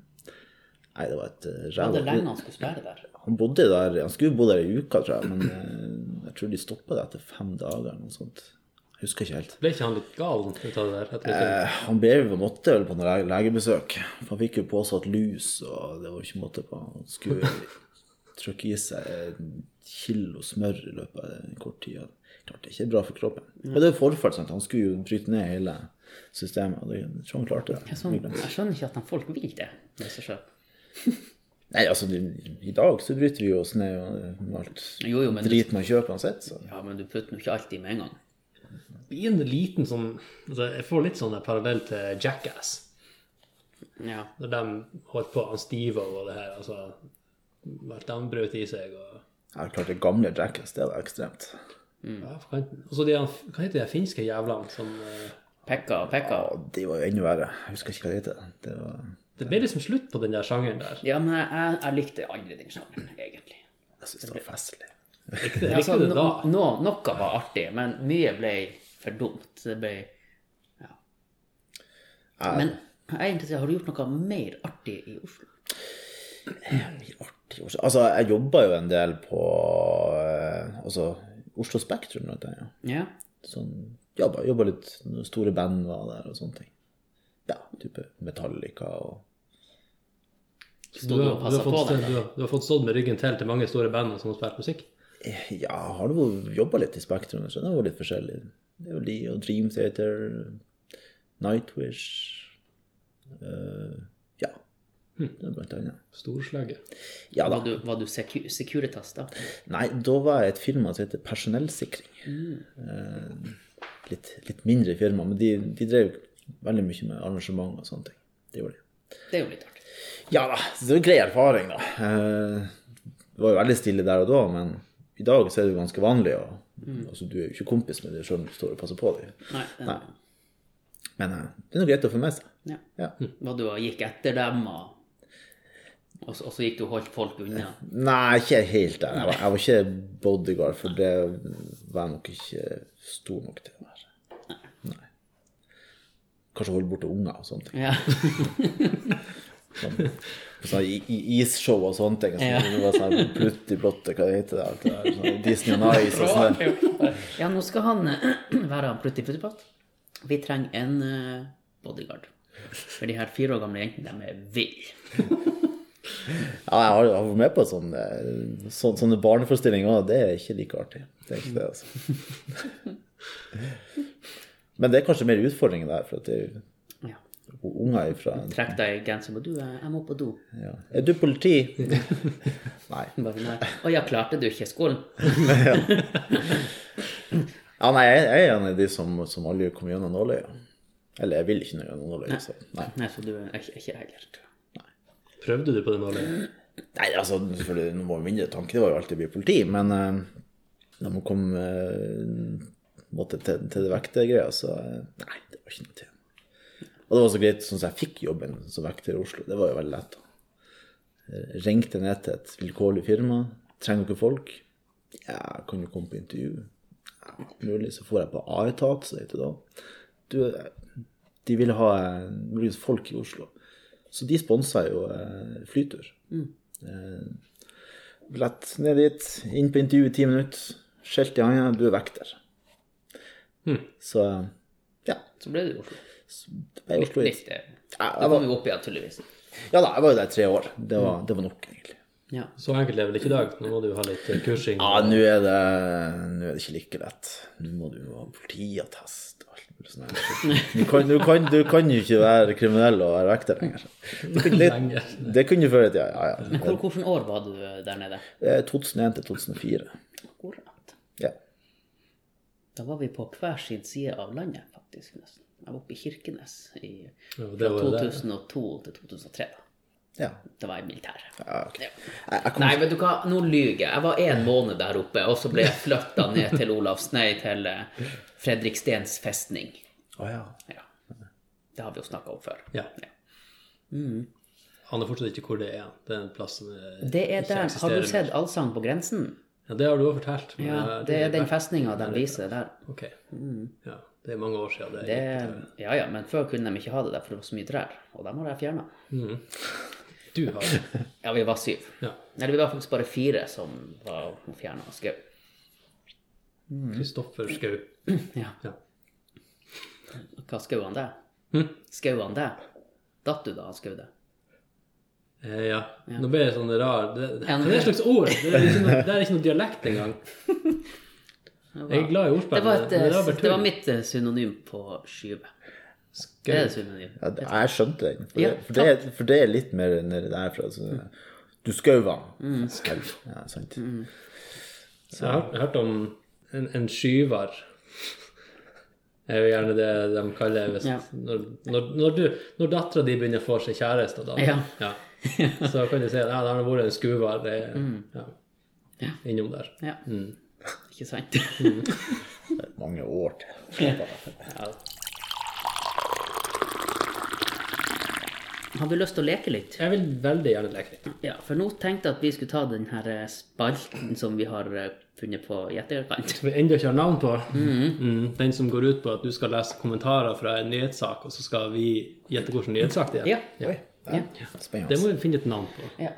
Speaker 3: nei, det var et eh,
Speaker 2: Var det lenge
Speaker 3: ræva
Speaker 2: han skulle være der?
Speaker 3: Han bodde der, han skulle bo der i uka, tror jeg, men eh, jeg tror de stoppa det etter fem dager eller noe sånt. Jeg husker ikke helt.
Speaker 1: Ble ikke han litt gal ut av det der? etter en stund?
Speaker 3: Eh, Han ble jo måtte vel på noen lege- legebesøk. For Han fikk jo påsatt lus, og det var jo ikke måte på.
Speaker 2: <laughs>
Speaker 3: Han skulle trykke i seg en kilo smør i løpet av en kort tid. og Klart det er ikke bra for kroppen. Men det er jo forfall, sant. Han skulle jo bryte ned hele systemet, og det jeg tror han klarte det.
Speaker 2: Sånn, jeg skjønner ikke at han folk vil det. med seg selv.
Speaker 3: Nei, altså, i i dag så bryter vi jo oss ned og med alt
Speaker 2: Jo, jo, men du,
Speaker 3: drit man kjøper uansett, så
Speaker 2: ja, men du putter nå ikke alt i med en gang.
Speaker 1: I en liten sånn altså Jeg får litt sånn en parallell til Jackass.
Speaker 2: Ja.
Speaker 1: Når de holdt på han Steve og det her, altså Alt de brøt i seg og
Speaker 3: Ja, klart det gamle Jackass, det var ekstremt. Mm.
Speaker 1: ja, for kan- Og så de han- Hva heter de finske jævlene som eh,
Speaker 2: Pekka og pekka.
Speaker 3: Ja, de var jo enda verre. Jeg husker ikke hva det heter. Det var...
Speaker 1: Det ble liksom slutt på den der sjangeren der.
Speaker 2: Ja, men jeg, jeg likte aldri den sjangeren, egentlig.
Speaker 3: Jeg syns det var festlig.
Speaker 1: Likte, likte
Speaker 2: Ja, Altså,
Speaker 1: du det da?
Speaker 2: no, no, noe var artig, men mye ble for dumt. Det ble ja.
Speaker 3: Ja.
Speaker 2: Men jeg er interessert, har du gjort noe mer artig i Oslo?
Speaker 3: artig Oslo. Altså, jeg jobba jo en del på eh, altså, Oslo Spektrum, blant annet.
Speaker 2: Ja.
Speaker 3: Sånn, jobba, jobba litt når store band var der og sånne ting. ja, type Metallica og
Speaker 1: Du
Speaker 2: Stod du
Speaker 1: har,
Speaker 2: og
Speaker 1: du, har
Speaker 2: passa på
Speaker 1: fått,
Speaker 2: deg?
Speaker 1: du, har, du har fått stått med ryggen til til mange store band som har spilt musikk.
Speaker 3: Eh, Ja, har du jobba litt i Spektrum, så det har vært litt forskjellig. Det er jo de og Dream Theater, Nightwish eh, Ja, det er blant annet.
Speaker 1: Storslager.
Speaker 3: Ja da.
Speaker 2: Var du, var du secu Securitas, da?
Speaker 3: Nei, da var jeg i et firma som heter Personellsikring. Eh, litt, litt mindre firma, men de, de drev veldig mye med arrangement og sånne ting. Det gjorde de.
Speaker 2: Det er jo litt artig.
Speaker 3: Ja da, så det er en grei erfaring, da. Eh, Det var jo veldig stille der og da, men i dag så er det jo ganske vanlig. Og, altså, du er jo ikke kompis med dem sjøl om du står og passer på dem.
Speaker 2: Nei, den,
Speaker 3: Nei. Men eh, det er noe greit å få med seg.
Speaker 2: Ja.
Speaker 3: Ja.
Speaker 2: Var du og gikk etter dem, og, og, så, og så gikk du og holdt folk unna?
Speaker 3: Nei, ikke helt der. Jeg var, jeg var ikke bodyguard, for det var jeg nok ikke stor nok til. Der. Nei. Kanskje holde borte unger og sånne ting.
Speaker 2: Ja.
Speaker 3: Sånn, sånn i- i- isshow og sånne ting.
Speaker 2: Ja.
Speaker 3: Sånn, det var sånn Plutti blotte, hva det heter det? Alt det der, sånn, Disney on Ice og sånn. der.
Speaker 2: ja, nå skal han eh, <clears throat> være han plutti pluttipatt. Vi trenger en eh, bodyguard. For de her fire år gamle jentene, de er ville.
Speaker 3: Ja, jeg har, jeg har vært med på sånne, sånne, sånne barneforestillinger, og det er ikke like artig. Det er ikke det, altså. Men det er kanskje mer utfordringen der, for at det er jo
Speaker 2: Ja.
Speaker 3: unger ifra
Speaker 2: Trekk deg i genseren på do. eh, Jeg må på do.
Speaker 3: ja. Er du politi? Nei.
Speaker 2: Bare, nei. Å ja, klarte du ikke skolen?
Speaker 3: Ja, nei, jeg, jeg er en av de som, som aldri kom gjennom nåløyet. Eller jeg vil ikke gjennom nåløyet, så nei.
Speaker 2: Nei, så du er ikke, ikke heller. tror jeg.
Speaker 1: Prøvde du på det nålet?
Speaker 3: Nei, altså, selvfølgelig, nå var mindre tanke, det var jo alltid å bli politi, men eh, når man kom eh, måtte til, til det vektergreia, så eh, Nei, det var ikke noe tema. Og det var så greit, sånn som jeg fikk jobben som vekter i Oslo, det var jo veldig lett. da. Eh, Ringte ned til et vilkårlig firma. Trenger dere folk? Ja, kan du komme på intervju? Ja, mulig. Så får jeg på A-etat, så heter det da. Du, eh, de ville ha eh, muligens folk i Oslo. Så de sponsa jo eh, flytur. Billett ned dit, inn på intervju i ti minutter. Skjelt i handa, du er vekter.
Speaker 2: Hm.
Speaker 3: Så ja.
Speaker 2: Så ble det jo Oslo.
Speaker 3: det ble Oslo hit.
Speaker 2: Litt, eh,
Speaker 3: Ja,
Speaker 2: Da
Speaker 3: jeg var,
Speaker 2: kom vi opp igjen, tydeligvis.
Speaker 3: ja da, jeg var jo der i tre år. Det
Speaker 2: Hm.
Speaker 3: var, det var nok, egentlig.
Speaker 2: Ja.
Speaker 1: Så enkelt er det vel ikke i dag? Nå må du ha litt eh, kursing.
Speaker 3: Ja, nå er det, nå er det ikke like lett. Nå må du ha politiattest og alt mulig sånt. her. Du kan, du, kan, du kan jo ikke være kriminell og være vekter lenger. Det kunne, det, det kunne du før i tida, ja ja.
Speaker 2: Hvor, hvilken år var du eh, der nede?
Speaker 3: Eh, 2001 til 2004.
Speaker 2: Akkurat.
Speaker 3: Ja.
Speaker 2: Da var vi på hver sin side av landet, faktisk. nesten. Jeg var oppe i Kirkenes i,
Speaker 1: Ja, det
Speaker 2: fra
Speaker 1: var jo det.
Speaker 2: 2002 til 2003. da.
Speaker 3: ja.
Speaker 2: Da var jeg i militæret.
Speaker 3: ja ok.
Speaker 2: Ja.
Speaker 3: Jeg, jeg kom
Speaker 2: Nei, vet du hva, nå lyver jeg. Jeg var en måned der oppe, og så ble jeg flytta ned til Olavs, nei, til eh, Fredrikstens festning.
Speaker 3: Å, ja.
Speaker 2: Ja. Det har vi jo snakka om før.
Speaker 1: Ja.
Speaker 2: Mm.
Speaker 1: Aner fortsatt ikke hvor det er. Det er en plass som eh,
Speaker 2: Det er
Speaker 1: ikke
Speaker 2: der, Har
Speaker 1: eksisterer
Speaker 2: du sett Allsang på grensen?
Speaker 1: mer. Ja, det har du òg fortalt. men eh, jeg
Speaker 2: Ja,
Speaker 1: har
Speaker 2: Det er
Speaker 1: aldri
Speaker 2: den Mm.
Speaker 1: vært-
Speaker 2: festninga de viser der.
Speaker 1: Ok. Ja, det er mange år siden. Det,
Speaker 2: Det, ja, ja, men før kunne de ikke ha det der, for det var så mye trær. Og dem har jeg fjerna.
Speaker 1: Du har det.
Speaker 2: Ja, vi var syv.
Speaker 1: Ja.
Speaker 2: Eller vi var faktisk bare fire som var fjerna av skau. Mm.
Speaker 1: Kristoffer Schou.
Speaker 2: Ja.
Speaker 1: Ja. Hm?
Speaker 2: Hva skau han deg? Skau han deg? Datt du da han skau deg?
Speaker 1: Eh, ja. Nå ble det sånn rar det, det,
Speaker 2: Ja, nå-
Speaker 1: det er et slags ord. Det er ikke noe, det er ikke noe dialekt engang. Jeg er glad i ordspill.
Speaker 2: <laughs> Det var, et,
Speaker 1: men
Speaker 2: eh,
Speaker 1: bare
Speaker 2: det var
Speaker 1: tull.
Speaker 2: mitt eh, synonym på skyve. Det er et synonym.
Speaker 3: Ja, det- jeg skjønte den. For,
Speaker 2: Ja,
Speaker 3: det, for, det, for det er litt mer nedi derfra. Så, sånn- du skauva. Ja, sant.
Speaker 1: Så jeg har jeg har hørt om en, en skyvar. Det er jo gjerne det de kaller hvis,
Speaker 2: Ja.
Speaker 1: når, når, når, du- når dattera di begynner å få seg kjæreste, da,
Speaker 2: Ja.
Speaker 1: så kan du si at ja, det har vært en skuvar det, er- ja, innom der.
Speaker 2: Mm. Ja.
Speaker 1: Mm.
Speaker 2: Ikke sant? <laughs>
Speaker 3: Mange år til.
Speaker 2: Har du lyst til å leke litt?
Speaker 1: Jeg vil veldig gjerne leke litt.
Speaker 2: Ja, for nå tenkte jeg at vi skulle ta den her eh, spalten som vi har eh, funnet på i etterkant.
Speaker 1: Som vi ennå ikke har navn på. Mm, den som går ut på at du skal lese kommentarer fra en nyhetssak, og så skal vi gjette hvilken nyhetssak det er.
Speaker 2: Ja.
Speaker 3: Oi, ja. Spennende.
Speaker 1: Det må vi finne et navn på.
Speaker 2: Ja.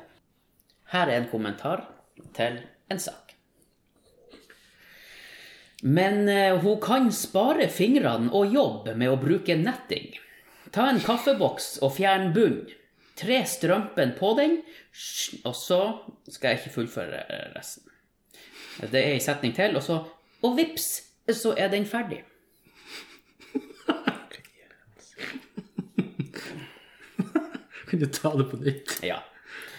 Speaker 2: Her er en kommentar til en sak. Men eh, hun kan spare fingrene og jobbe med å bruke netting. Ta en kaffeboks og fjern bunnen. Tre strømpen på den, sj- og så skal jeg ikke fullføre eh, resten. Det er en setning til, og så Og vips, så er den ferdig.
Speaker 1: <laughs> Kan du ta det på nytt?
Speaker 2: Ja.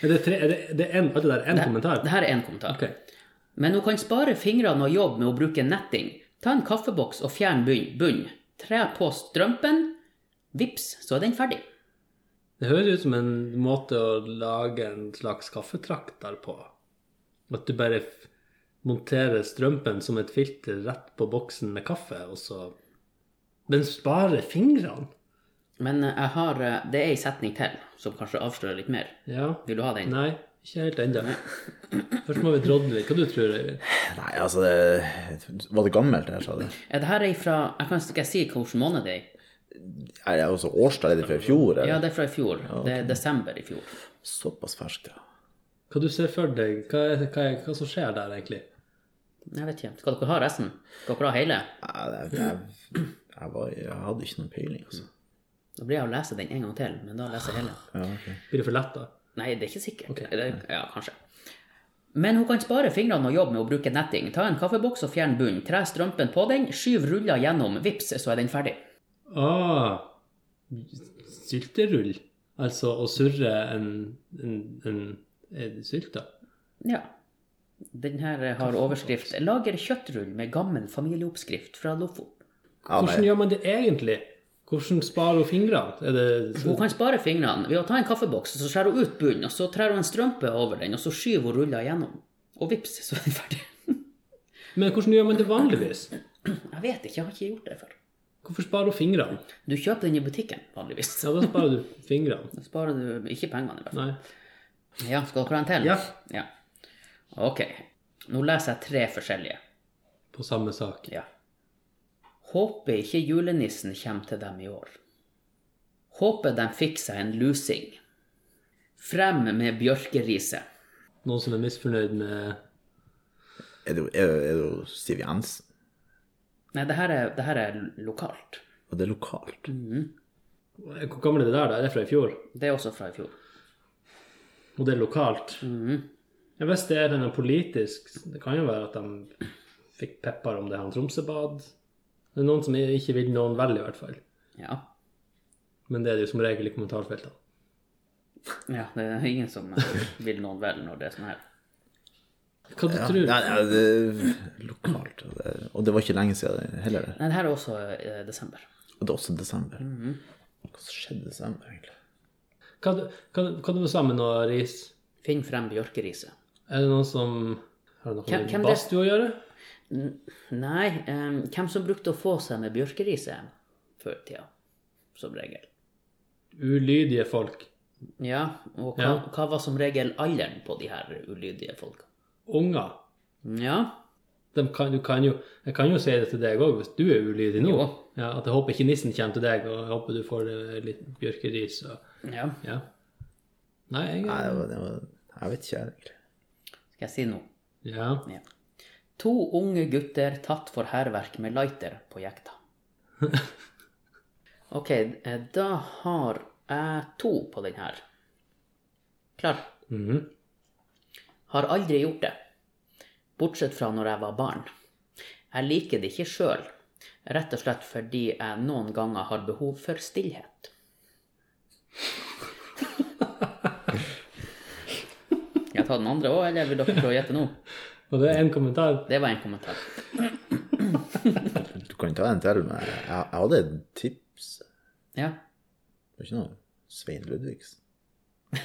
Speaker 1: Er det, tre, er det, det er en, alt det der én kommentar?
Speaker 2: Det her er én kommentar.
Speaker 1: Ok.
Speaker 2: Men hun kan spare fingrene og jobbe med å bruke netting. Ta en kaffeboks og fjern bunn- bunnen. Tre på strømpen. Vips, så er den ferdig.
Speaker 1: Det høres ut som en måte å lage en slags kaffetrakter på. At du bare f- monterer strømpen som et filter rett på boksen med kaffe, og så Men sparer fingrene?
Speaker 2: Men eh, jeg har, eh, det er ei setning til som kanskje avslører litt mer.
Speaker 1: Ja.
Speaker 2: Vil du ha den?
Speaker 1: Nei, ikke helt ennå. Først må vi drodle litt. Hva du tror du?
Speaker 3: Nei, altså det, Var det gammelt, det her, sa du?
Speaker 2: Er det her ei fra Jeg kan ikke si hvilken måned det er. i.
Speaker 3: Er det også årstall? Er det fra i fjor?
Speaker 2: Ja,
Speaker 3: Eller?
Speaker 2: det er fra i fjor. Det er desember i fjor.
Speaker 3: Såpass ferskt, ja.
Speaker 1: Hva du ser for deg? Hva, er, hva, er, hva som skjer der, egentlig?
Speaker 2: Jeg vet ikke. Skal dere ha resten? Skal dere ha hele?
Speaker 3: Nei, det- Jeg, jeg, var, jeg hadde ikke noen peiling, altså.
Speaker 2: Da blir jeg å lese den en gang til, men da leser jeg hele.
Speaker 3: Ja, ok.
Speaker 1: Blir det for lett, da?
Speaker 2: Nei, det er ikke sikkert. Det, ja, kanskje. Men hun kan spare fingrene og jobbe med å bruke netting. Ta en kaffeboks og fjern bunnen. Tre strømpen på den, skyv ruller gjennom, vips, så er den ferdig.
Speaker 1: Ah, sylterull. Altså å surre en, en, en, en sylt, da.
Speaker 2: Ja. Den her har overskrift 'Lager kjøttrull med gammel familieoppskrift fra Lofoten'.
Speaker 3: Ja, nei.
Speaker 1: Hvordan gjør man det egentlig? Hvordan sparer hun fingrene? Er det
Speaker 2: Hun kan spare fingrene ved å ta en kaffeboks, så skjærer hun ut bunnen, og så trær hun en strømpe over den, og så skyver hun ruller gjennom. Og vips, så er den ferdig.
Speaker 1: Men hvordan gjør man det vanligvis?
Speaker 2: Jeg vet ikke, jeg har ikke gjort det før.
Speaker 1: Hvorfor sparer hun fingrene?
Speaker 2: Du kjøper den i butikken, vanligvis.
Speaker 1: Ja, da sparer du fingrene.
Speaker 2: Da sparer du ikke pengene, i hvert fall.
Speaker 1: Nei.
Speaker 2: Ja, skal dere ha en til?
Speaker 1: Ja.
Speaker 2: Ok. Nå leser jeg tre forskjellige.
Speaker 1: På samme sak.
Speaker 2: Ja. Håper ikke julenissen kommer til dem i år. Håper de fikk seg en lusing. Frem med bjørkeriset.
Speaker 1: Noen som er misfornøyd med
Speaker 3: Er det jo- er det er det jo Siv Jensen?
Speaker 2: Nei, det her er, det her er lokalt.
Speaker 3: Og det er lokalt.
Speaker 1: Hvor gammel er det der, da? Er det fra i fjor?
Speaker 2: Det er også fra i fjor.
Speaker 1: Og det er lokalt? Ja, hvis det er denne politisk Det kan jo være at de fikk pepper om det her Tromsøbad. Det er noen som ikke vil noen vel, i hvert fall.
Speaker 2: Ja.
Speaker 1: Men det er det jo som regel i kommentarfeltene.
Speaker 2: ja. Det er ingen som eh, vil noen vel når det er sånn her.
Speaker 1: Hva du
Speaker 3: Ja,
Speaker 1: tror
Speaker 3: nei, nei, det er lokalt. Og det, og det var ikke lenge siden det heller. det.
Speaker 2: Nei, det her er også eh, desember.
Speaker 3: Og det er også desember.
Speaker 1: Mhm.
Speaker 3: Hva som skjedde i desember, egentlig?
Speaker 1: Hva, hva, hva er det sa med noe ris?
Speaker 2: Finn frem bjørkeriset.
Speaker 1: Er det noen som Har det noe
Speaker 2: Hvem- hvem
Speaker 1: med
Speaker 2: det-
Speaker 1: badstue å gjøre?
Speaker 2: Nei, eh, hvem som brukte å få seg med bjørkeriset før i tida, som regel.
Speaker 1: Ulydige folk.
Speaker 2: Ja, og hva,
Speaker 1: Ja.
Speaker 2: hva var som regel alderen på de her ulydige folka?
Speaker 1: Unger.
Speaker 2: Ja,
Speaker 1: De kan, du kan jo, jeg kan jo si det til deg òg, hvis du er ulydig nå.
Speaker 2: Jo.
Speaker 1: Ja, at jeg håper ikke nissen kommer til deg, og jeg håper du får eh, litt bjørkeris. Og,
Speaker 2: ja.
Speaker 1: ja. Nei,
Speaker 3: Nei,
Speaker 1: jeg
Speaker 3: det var, det var, jeg vet ikke, jeg, egentlig.
Speaker 2: Skal jeg si noe?
Speaker 1: Ja.
Speaker 2: Ja. To unge gutter tatt for hærverk med lighter på jekta. Ok, eh, da har jeg to på den her. Klar?
Speaker 1: Mhm.
Speaker 2: Har aldri gjort det. Bortsett fra når jeg var barn. Jeg liker det ikke sjøl. Rett og slett fordi jeg noen ganger har behov for stillhet. Skal jeg ta den andre òg, eller vil dere prøve å gjette nå?
Speaker 1: Og det er en kommentar.
Speaker 2: Det var en kommentar.
Speaker 3: Du kan ta en til, men jeg, jeg hadde et tips.
Speaker 2: Ja, <laughs>
Speaker 3: Det var ikke noe Svein Ludvigsen.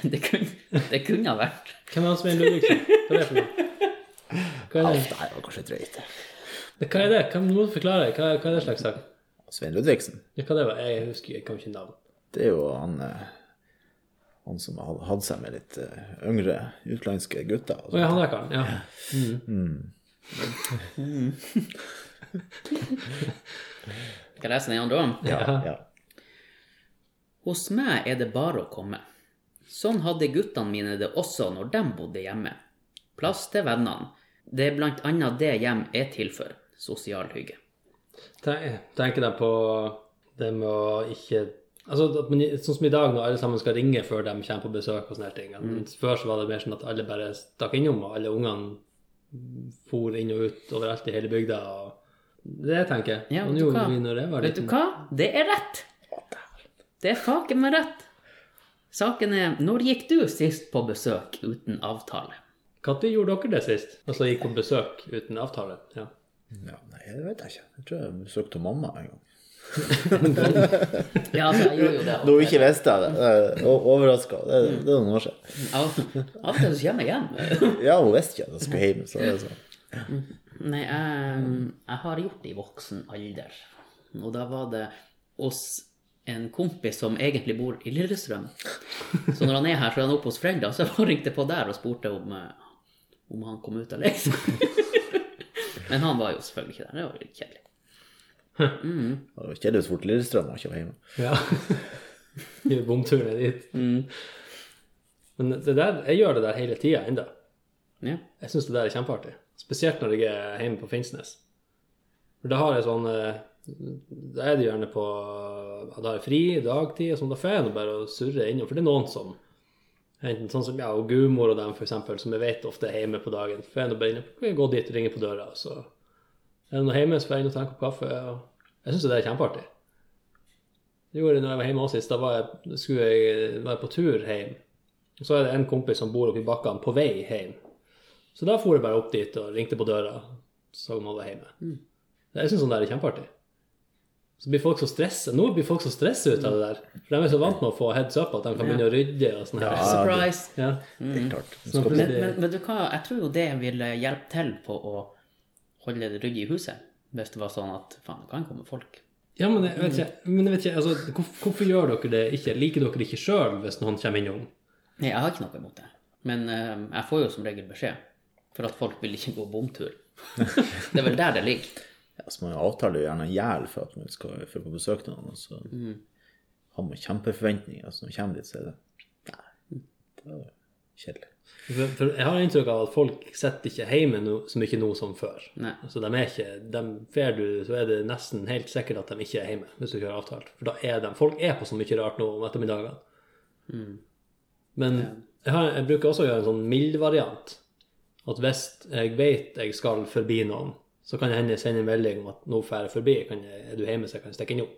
Speaker 2: det kunne, det kunne ha vært.
Speaker 1: Hvem er han Svein Ludvigsen? Hva er det for noe? Hva
Speaker 3: Ja,
Speaker 1: er
Speaker 3: det
Speaker 1: det?
Speaker 3: her var kanskje drøyt.
Speaker 1: Hva er det? Hva, nå må du forklare. Hva, hva er det slags sak?
Speaker 3: Svein Ludvigsen,
Speaker 1: Ja, hva det var? Jeg husker jeg kan ikke navn.
Speaker 3: det er jo han, eh, han som hadde hatt seg med litt eh, yngre utenlandske gutter.
Speaker 1: Å
Speaker 3: Altså.
Speaker 1: ja, han der karen. Ja. Mhm.
Speaker 2: Skal jeg lese den andre også?
Speaker 1: Ja.
Speaker 3: Ja.
Speaker 2: Hos meg er det bare å komme. Sånn hadde guttene mine det også når de bodde hjemme. Plass til vennene. Det er blant annet det hjem er til for. Sosial hygge.
Speaker 1: Tenk- Tenker de på det med å ikke Altså, at man, sånn som i dag, når alle sammen skal ringe før de kommer på besøk og sånne her ting. At
Speaker 2: Mhm.
Speaker 1: Før så var det mer sånn at alle bare stakk innom, og alle ungene for inn og ut overalt i hele bygda. og Det tenker jeg.
Speaker 2: Ja,
Speaker 1: Man
Speaker 2: vet du
Speaker 1: gjorde
Speaker 2: hva?
Speaker 1: mye når jeg var
Speaker 2: Vet du
Speaker 1: liten.
Speaker 2: hva? Det er rett! Det er faken meg rett. Saken er Når gikk du sist på besøk uten avtale?
Speaker 1: Når gjorde dere det sist? Altså gikk på besøk uten avtale? Ja.
Speaker 3: Ja, nei, det vet jeg ikke. Jeg tror jeg besøkte mamma en gang.
Speaker 2: Ja, altså, jeg gjorde jo det.
Speaker 3: Da ikke visste jeg det. Overraska. Det, det er noen år siden.
Speaker 2: Av av og til så kommer jeg hjem.
Speaker 3: Ja, hun visste ikke at jeg skulle hjem. Så det er sånn.
Speaker 2: Nei, jeg, jeg har gjort det i voksen alder. Og da var det hos en kompis som egentlig bor i Lillestrøm. Så når han er her, så er han oppe hos foreldra. Så jeg bare ringte på der og spurte om, eh, om han kom ut eller ikke. <laughs> Men han var jo selvfølgelig ikke der. Det var jo litt kjedelig.
Speaker 3: Det var kjedelig hvis Fort Lillestrøm var ikke var hjemme.
Speaker 1: <laughs> ja. De bomturene dit. Men det der, jeg gjør det der hele tida ennå.
Speaker 2: Ja.
Speaker 1: Jeg syns det der er kjempeartig. Spesielt når jeg er hjemme på Finnsnes. For da har jeg sånn eh, Da er det gjerne på Da har jeg fri dagtid, og sånn, da får jeg nå bare å surre innom. For det er noen som Enten sånn som ja, og gudmor og dem, for eksempel, som jeg vet ofte er hjemme på dagen. For jeg nå bare innom, kan jeg gå dit og ringe på døra, og så er det noe hjemme, så får jeg inn og ta en kopp kaffe. Og jeg syns det der er kjempeartig. Det gjorde jeg når jeg var hjemme også sist. Da var jeg, skulle jeg, var jeg på tur hjem. Og så er det en kompis som bor oppe i bakkene på vei hjem. Så da for jeg bare opp dit og ringte på døra, så om alle var hjemme. Jeg syns sånn der er kjempeartig. Så blir folk så stresset. Nå blir folk så stresset ut av det der. For de er så vant med å få heads up at de kan begynne å rydde og sånn her.
Speaker 2: Surprise!
Speaker 1: Ja.
Speaker 2: Mm.
Speaker 3: Det er klart.
Speaker 1: Så
Speaker 3: Skal-
Speaker 2: Men,
Speaker 1: plutselig-
Speaker 2: men vet du hva, jeg tror jo det ville hjelpe til på å holde det ryddig i huset. Hvis det var sånn at faen, det kan komme folk.
Speaker 1: Ja, men jeg vet ikke, men jeg vet ikke altså, hvorfor, hvorfor gjør dere det ikke? Liker dere det ikke sjøl hvis noen kommer innom?
Speaker 2: Nei, jeg har ikke noe imot det. Men eh, jeg får jo som regel beskjed. For at folk vil ikke gå bomtur. <laughs> det er vel der det ligger.
Speaker 3: Ja, så Altså, man avtaler jo gjerne en gjeld for at man skal for på besøk til noen, og så
Speaker 2: Mm.
Speaker 3: har man kjempeforventninger. Altså, når man kommer dit, så er det Nei, det er kjedelig.
Speaker 1: For, for jeg har inntrykk av at folk sitter ikke hjemme no, så mye nå som før.
Speaker 2: Nei.
Speaker 1: Altså, de er ikke, de, fer du, så er det nesten helt sikkert at de ikke er hjemme hvis du ikke har avtalt. For da er de, folk er på så mye rart nå om ettermiddagene. Men jeg, har, jeg bruker også å gjøre en sånn mild variant. At hvis jeg vet jeg skal forbi noen, så kan jeg hende sende en melding om at nå drar jeg forbi, kan jeg, er du hjemme så jeg kan stikke innom?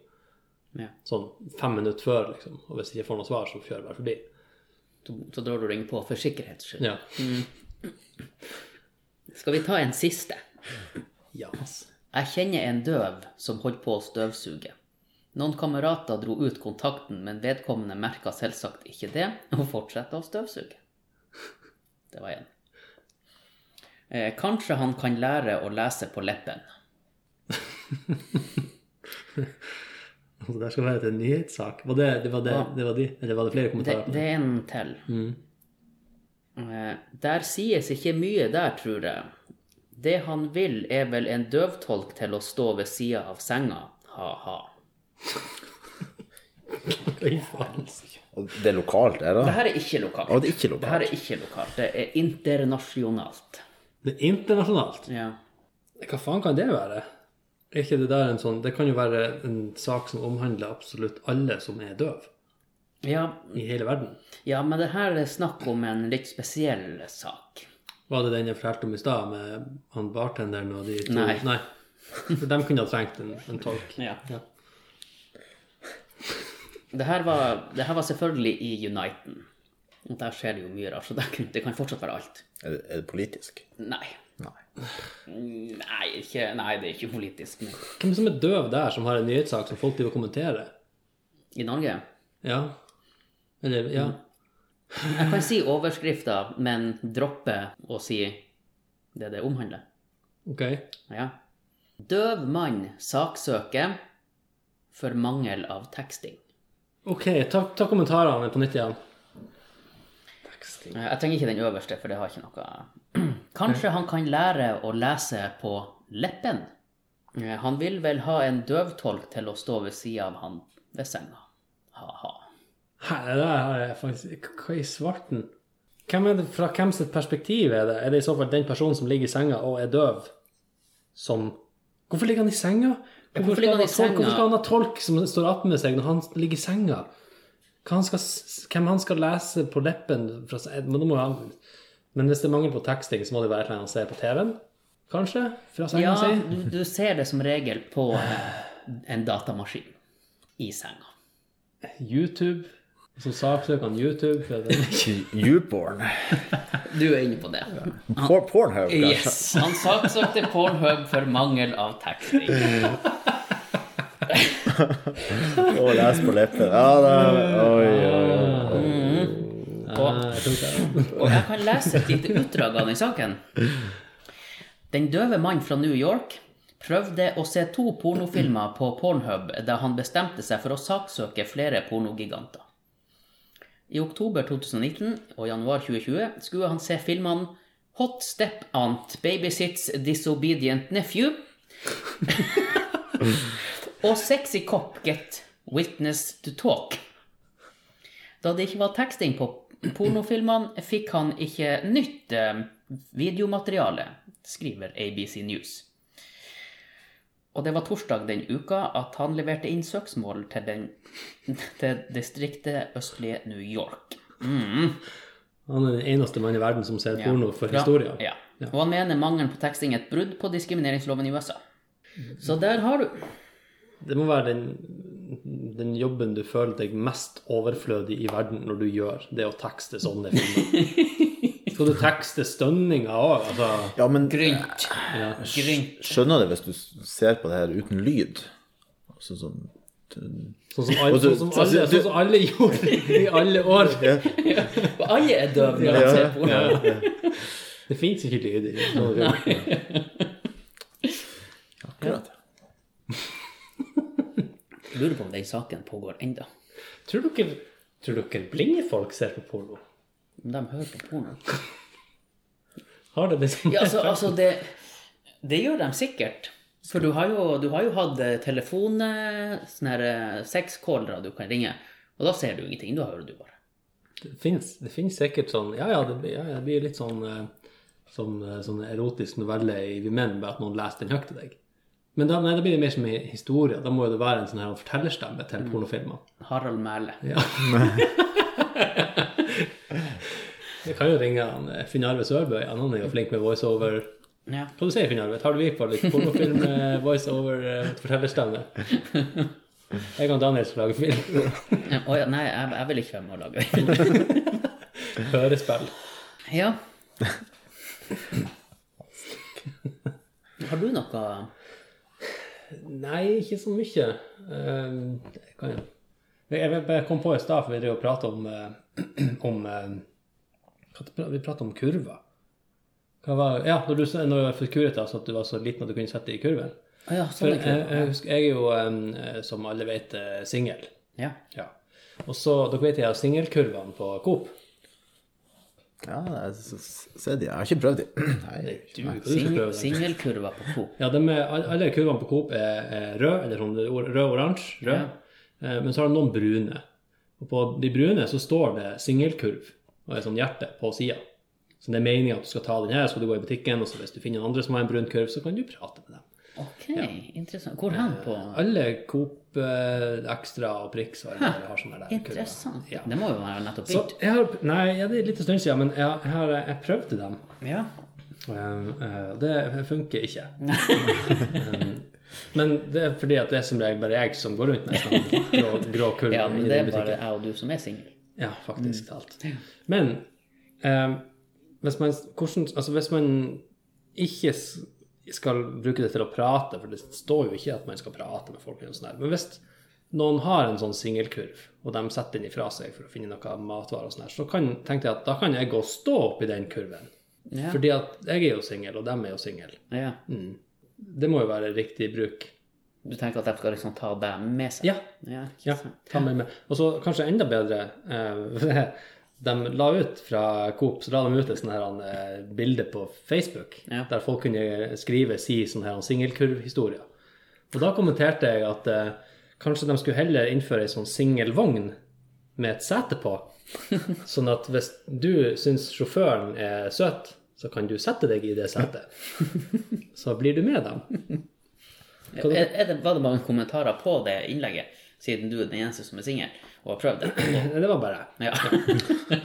Speaker 2: Ja.
Speaker 1: Sånn fem minutter før, liksom. Og hvis jeg ikke får noe svar, så kjører jeg bare forbi.
Speaker 2: Så, så drar du ring på for sikkerhets skyld.
Speaker 1: Ja.
Speaker 2: Skal vi ta en siste?
Speaker 1: ja. ass.
Speaker 2: Jeg kjenner en døv som holdt på å støvsuge. Noen kamerater dro ut kontakten, men vedkommende merka selvsagt ikke det, og fortsatte å støvsuge. Det var én. Eh, kanskje han kan lære å lese på leppen.
Speaker 1: Altså, der skal være til en nyhetssak. Var det, det, var det,
Speaker 2: Ja.
Speaker 1: det var de? Eller var det flere
Speaker 2: Det,
Speaker 1: kommentarer? på
Speaker 2: det er en til.
Speaker 3: Mm.
Speaker 2: Eh, der sies ikke mye der, tror jeg. Det han vil, er vel en døvtolk til å stå ved sida av senga, ha-ha.
Speaker 1: Fy faen.
Speaker 3: Og det er lokalt, er det?
Speaker 2: Det her er ikke lokalt.
Speaker 3: Og det er ikke
Speaker 2: Det her
Speaker 3: lokalt.
Speaker 2: er ikke lokalt. Det er internasjonalt.
Speaker 1: Det er internasjonalt.
Speaker 2: Ja.
Speaker 1: Hva faen kan det være? Er ikke det der en sånn Det kan jo være en sak som omhandler absolutt alle som er døv
Speaker 2: Ja,
Speaker 1: i hele verden.
Speaker 2: ja, men det her er snakk om en litt spesiell sak.
Speaker 1: Var det den jeg fortalte om i stad, med han bartenderen og de to
Speaker 2: Nei.
Speaker 1: For de kunne ha trengt en, en tolk.
Speaker 2: Ja.
Speaker 1: Ja.
Speaker 2: Det her var, det her var selvfølgelig i Uniten. Og Der skjer det jo mye rart, så det kan, det kan fortsatt være alt.
Speaker 3: Er det, er det politisk?
Speaker 2: Nei.
Speaker 3: Nei.
Speaker 2: Nei, ikke, nei det er ikke politisk. Men.
Speaker 1: Hvem som er døv der, som har en nyhetssak som folk driver og kommenterer?
Speaker 2: I Norge?
Speaker 1: Ja. Eller Ja.
Speaker 2: Jeg kan si overskrifter, men droppe å si det det omhandler.
Speaker 1: Ok.
Speaker 2: Ja. Døv mann saksøker for mangel av teksting.
Speaker 1: Ok, ta, ta kommentarene på nytt igjen.
Speaker 2: Eh, Jeg trenger ikke den øverste, for det har ikke noe <clears throat> Kanskje han kan lære å lese på leppen? Eh, Han vil vel ha en døvtolk til å stå ved sida av han ved senga. Ha-ha.
Speaker 1: Her, det der har jeg faktisk Hva i svarten? Hvem er det, fra hvem sitt perspektiv er det? Er det i så fall den personen som ligger i senga og er døv, som Hvorfor ligger han i senga?
Speaker 2: Hvorfor ligger han
Speaker 1: tolk?
Speaker 2: i
Speaker 1: Hvorfor skal
Speaker 2: senga?
Speaker 1: han ha tolk som står attmed seg når han ligger i senga? Hva han skal, s- hvem han skal lese på leppen fra, se- men, da må han, men hvis det er mangel på teksting, så må det jo være noe han ser på TV-en, kanskje? Fra senga
Speaker 2: Ja,
Speaker 1: si?
Speaker 2: du, du ser det som regel på eh, en datamaskin i senga.
Speaker 1: YouTube? Så saksøker han YouTube? for det-
Speaker 3: Youporn.
Speaker 2: Du er inne på det. <laughs>
Speaker 3: Por Pornhub, kanskje.
Speaker 2: Yes. Han saksøkte Pornhub for mangel av teksting.
Speaker 3: Å, les på leppen. Ja, det er
Speaker 2: Mm.
Speaker 3: Oi, oi, oi.
Speaker 2: Og,
Speaker 1: Jeg tror ikke det.
Speaker 2: og jeg kan lese et lite utdrag av den saken. Den døve mannen fra New York prøvde å se to pornofilmer på Pornhub da han bestemte seg for å saksøke flere pornogiganter. I oktober 2019 og januar 2020 skulle han se filmene Hot Step Aunt Babysits Disobedient Nephew <laughs> og Sexy Cop Get Witness to Talk. Da det ikke var teksting på pornofilmene, fikk han ikke nytt eh, videomateriale, skriver ABC News. Og det var torsdag den uka at han leverte inn søksmål til, den, til distriktet østlige New York.
Speaker 1: Han er den eneste mannen i verden som ser
Speaker 2: Ja.
Speaker 1: porno for
Speaker 2: Fra-
Speaker 1: historien.
Speaker 2: Ja. Og han mener mangelen på teksting er et brudd på diskrimineringsloven i USA. Så der har du.
Speaker 1: Det må være den, den jobben du føler deg mest overflødig i verden når du gjør, det å tekste sånne filmer. <laughs> Skal du tekste stønninger òg? Altså,
Speaker 3: Ja, men
Speaker 2: Grynt. Grynt.
Speaker 3: skjønner det hvis du ser på det her uten lyd. Altså sånn
Speaker 1: sånn, som alle,
Speaker 3: Altså,
Speaker 1: sånn, som alle,
Speaker 3: altså, du-
Speaker 1: sånn som alle gjorde i alle år.
Speaker 2: Og alle er døve når de
Speaker 3: Ja.
Speaker 2: ser porno.
Speaker 1: Det fins ikke lyd i sånne filmer.
Speaker 3: Akkurat.
Speaker 2: Jeg Lurer på om den saken pågår enda.
Speaker 1: Tror dere, tror dere blinde folk ser på porno?
Speaker 2: Om de hører på porno.
Speaker 1: Har det liksom
Speaker 2: Ja, altså, altså det, det gjør de sikkert. For du har jo, du har jo hatt eh, telefon, eh, sånne her eh, sexcallere du kan ringe, og da ser du ingenting. Da hører du bare.
Speaker 1: Det finnes, det finnes sikkert sånn Ja, ja, det, blir- ja, ja, det blir litt sånn eh, som eh, sånn erotisk novelle i Vi menn, bare at noen leser den høyt til deg. Men da, nei, da blir det mer som i historie. Da må jo det være en sånn her fortellerstemme til pornofilmer.
Speaker 2: Harald Mæhle.
Speaker 1: Ja. Jeg kan jo ringe han eh, Finn-Arve Sørbøy. Han han er jo flink med voiceover.
Speaker 2: Ja.
Speaker 1: Hva du sier Finn-Arve? Tar du vi på litt pornofilm-voiceover-fortellerstemme? eh, Jeg kan Daniel som lager film.
Speaker 2: Eh, Å ja, nei, jeg, jeg vil ikke være med å lage film.
Speaker 1: <laughs> Hørespill.
Speaker 2: <laughs> Ja. Har du noe
Speaker 1: Nei, ikke så mye. Ehm, jeg kan jo Jeg jeg bare kom på i stad, for vi drev og prata om, eh, <clears throat> om eh, hva det pra- Vi prata om kurver. Hva var, ja, når du sa- når jeg fikk kuret deg, så at du var så liten at du kunne sette deg i kurven.
Speaker 2: Å ja,
Speaker 1: For
Speaker 2: sånn
Speaker 1: jeg,
Speaker 2: er
Speaker 1: jeg,
Speaker 2: det.
Speaker 1: husker, jeg er jo, em, eh, som alle vet, eh, singel.
Speaker 2: Ja.
Speaker 1: Ja. Og så, dere vet de her singelkurvene på Coop?
Speaker 3: Ja, jeg s- ser de. Jeg har ikke prøvd de. <clears throat> Nei.
Speaker 1: Du, du skal prøve
Speaker 2: Sing-
Speaker 1: dem.
Speaker 2: Singelkurva på Coop.
Speaker 1: Ja, de er, all- alle kurvene på Coop er, er rød, eller sånn or- rød-oransje. Rød. Eh, Men så har de noen brune. Og på de brune så står det singelkurv og et sånn hjerte på sida. Så det er meninga at du skal ta den her, så skal du gå i butikken, og så hvis du finner noen andre som har en brun kurv, så kan du prate med dem.
Speaker 2: Ok, interessant. Hvor hen på
Speaker 1: Alle Coop eh, Extra og Prix og alle andre har sånne der kurver.
Speaker 2: Interessant.
Speaker 1: Ja.
Speaker 2: Det må jo være nettopp
Speaker 1: Så
Speaker 2: dit.
Speaker 1: jeg har, nei, ja, det er litt en stund siden, men jeg, har- jeg, har, jeg prøvde dem.
Speaker 2: Ja.
Speaker 1: Eh, eh, Det funker
Speaker 2: <laughs>
Speaker 1: ikke. Eh, Men det er fordi at det er som regel bare jeg som går rundt med en sånn grå, grå kurv.
Speaker 2: ja,
Speaker 1: i
Speaker 2: men det
Speaker 1: den
Speaker 2: er bare
Speaker 1: butikken.
Speaker 2: jeg og du som er singel.
Speaker 1: Mm. Ja, faktisk talt. Men eh, hvis, man, hvordan, altså hvis man ikke s- skal bruke det til å prate, for det står jo ikke at man skal prate med folk, eller noe sånt der, men hvis noen har en sånn singelkurv, og de setter den ifra seg for å finne noe matvarer, og sånn her, så kan, tenkte jeg at da kan jeg gå og stå oppi den kurven.
Speaker 2: Ja.
Speaker 1: Fordi at jeg er jo singel, og dem er jo singel.
Speaker 2: ja.
Speaker 1: Det må jo være riktig bruk.
Speaker 2: Du tenker at de skal liksom ta deg med seg?
Speaker 1: Ja.
Speaker 2: ja, ikke
Speaker 1: ja
Speaker 2: sant.
Speaker 1: ta meg med. Og så kanskje enda bedre eh, <laughs> De la ut fra Coop så la de ut et sånt her, eh, bilde på Facebook
Speaker 2: Ja.
Speaker 1: der folk kunne skrive si sånne her singelkurvhistorier. Og da kommenterte jeg at eh, kanskje de skulle heller innføre ei sånn singelvogn med et sete på.
Speaker 2: <laughs>
Speaker 1: Sånn at hvis du syns sjåføren er
Speaker 2: <laughs>
Speaker 1: søt, så kan du sette deg i det setet. Så blir du med dem. Hva
Speaker 2: Er, er det, var det mange kommentarer på det innlegget, siden du er den eneste som er singel og har prøvd det?
Speaker 1: Nei, Det var bare jeg.
Speaker 2: Ja.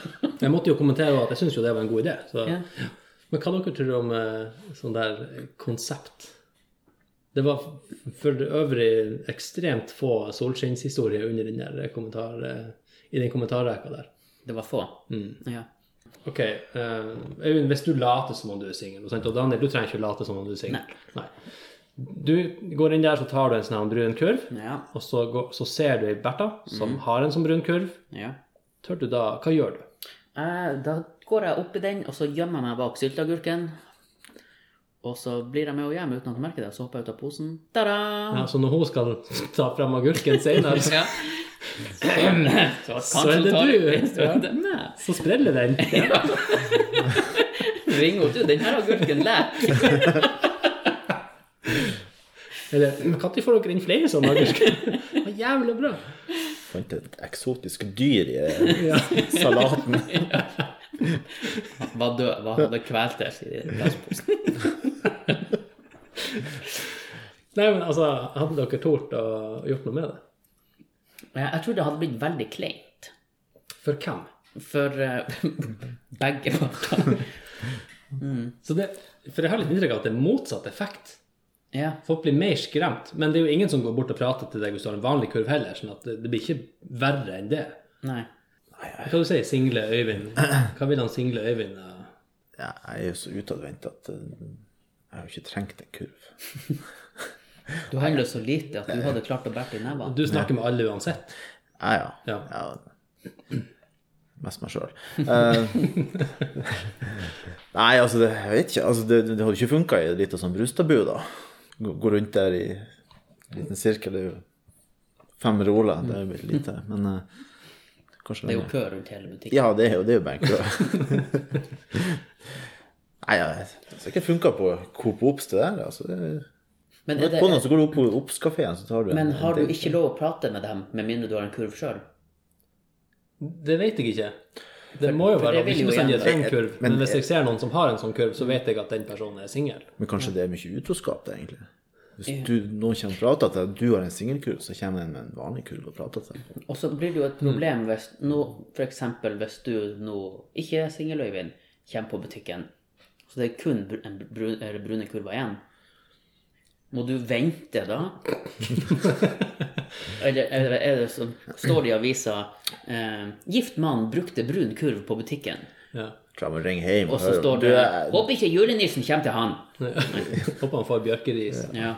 Speaker 1: Jeg måtte jo kommentere at jeg syns jo det var en god idé. Så.
Speaker 2: <laughs> Ja.
Speaker 1: Men hva dere tror om eh, sånn der konsept? Det var for det øvrig ekstremt få solskinnshistorier under den der kommentar, eh, i den kommentarrekka der.
Speaker 2: Det var få.
Speaker 1: Mm.
Speaker 2: Ja.
Speaker 1: Ok, eh, Øyvind, hvis du later som om du er singel, og sånt, og Daniel, du trenger ikke å late som om du er singel. Nei. Du går inn der, så tar du en sånn her brun kurv,
Speaker 2: Ja.
Speaker 1: og så, går, så ser du ei Bertha som har en sånn brun kurv.
Speaker 2: ja.
Speaker 1: Tør du da Hva gjør du?
Speaker 2: Eh, da går jeg oppi den, og så gjemmer jeg meg bak sylteagurken. Og så blir jeg med og hjem uten at jeg merker det, og så hopper jeg ut av posen. Ta-da!
Speaker 1: Ja, så Altså, når hun skal <laughs> ta frem agurken <laughs> senere, så,
Speaker 2: Ja. <clears throat> Så,
Speaker 1: Så er det
Speaker 2: tar-
Speaker 1: du.
Speaker 2: Så er det meg.
Speaker 1: så spreller den.
Speaker 2: Ring opp, du. Den her agurken leker.
Speaker 1: Eller men Når får dere inn flere sånne agurker? Det var jævlig bra.
Speaker 3: Fant et eksotisk dyr i salaten.
Speaker 2: Var død, var hadde kvelt det. sier de. Plastposen.
Speaker 1: Nei, men altså, hadde dere tort å gjort noe med det?
Speaker 2: Jeg jeg tror det hadde blitt veldig kleint
Speaker 1: For hvem?
Speaker 2: for eh, <laughs> begge parter.
Speaker 1: Så det, for jeg har litt inntrykk av at det er motsatt effekt.
Speaker 2: Ja.
Speaker 1: Folk blir mer skremt. Men det er jo ingen som går bort og prater til deg hvis du har en vanlig kurv heller, sånn at det, det blir ikke verre enn det.
Speaker 2: Nei.
Speaker 1: Hva kan du si, single Øyvind? Hva vil han single Øyvind eh,
Speaker 3: <laughs> Ja, jeg er jo så utadvendt at eh, jeg har jo ikke trengt en kurv.
Speaker 2: Du handler så lite at du hadde klart å bære det i neva.
Speaker 1: Du snakker med alle uansett.
Speaker 3: Ja, ja.
Speaker 1: Ja.
Speaker 3: Ja. <clears throat> Mest meg sjøl. <laughs> nei, altså, det, jeg vet ikke. Altså, det, det hadde ikke funka i et lite sånn brustabu, da. Gå, gå rundt der i en liten sirkel. Det er jo fem roller, det er jo lite. Men eh, kanskje
Speaker 2: Det er jo
Speaker 3: lenger.
Speaker 2: kø rundt hele butikken.
Speaker 3: Ja, det er jo, det er jo bare en kø. <laughs> nei, ja, det har sikkert funka på Coop Ops, det der. Altså, det,
Speaker 2: Men, er
Speaker 3: det,
Speaker 2: det,
Speaker 3: på noe, så går du opp på Ops-kafeen, så tar du en
Speaker 2: men har
Speaker 3: en
Speaker 2: du ikke lov å prate med dem med mindre du har en kurv sjøl?
Speaker 1: Det vet jeg ikke. Det må jo
Speaker 2: for
Speaker 1: være
Speaker 2: det
Speaker 1: om
Speaker 2: vil
Speaker 1: ikke
Speaker 2: jo
Speaker 1: bestandig jeg
Speaker 2: gjerne-
Speaker 1: trenger kurv,
Speaker 3: Men-
Speaker 1: men hvis jeg ser noen som har en sånn kurv, så vet jeg at den personen er singel.
Speaker 3: Men kanskje det er mye utroskap, det, egentlig. Hvis du, noen kommer og prater til deg, du har en singelkurv, så kommer en med en vanlig kurv og prater til deg.
Speaker 2: Og så blir det jo et problem hvis nå, for eksempel hvis du nå ikke er singel, Øyvind, kommer på butikken, så det er kun br- en brun, eller brune kurver igjen. Må du vente da? eller, eller er det som står det i avisa eh, 'Gift mann brukte brun kurv på butikken',
Speaker 1: Ja.
Speaker 3: Klar med å ringe hjem
Speaker 2: og så
Speaker 3: høre,
Speaker 2: står
Speaker 3: du,
Speaker 2: det
Speaker 3: jeg-
Speaker 2: 'Håper ikke julenissen kommer til han'.
Speaker 1: Håper han får bjørkeris
Speaker 2: Ja.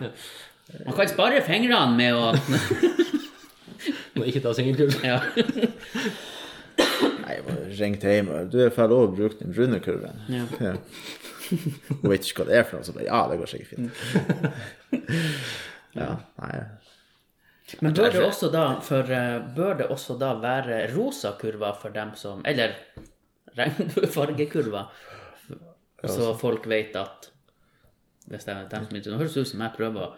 Speaker 2: Man kan spare fingrene med å
Speaker 1: og ikke ta singelkurs.
Speaker 2: ja.
Speaker 3: Nei, jeg bare ringte hjem og Du får lov å bruke den brune kurven.
Speaker 2: Ja.
Speaker 3: Ja. Hun vet ikke hva det er for noe, så bare Ja, det går sikkert fint. Ja, nei.
Speaker 2: Men bør det også da, for, eh, bør det også da være rosa kurver for dem som Eller regnbuefargekurver, så folk vet at Hvis det er dem som ikke Nå høres det ut som jeg prøver å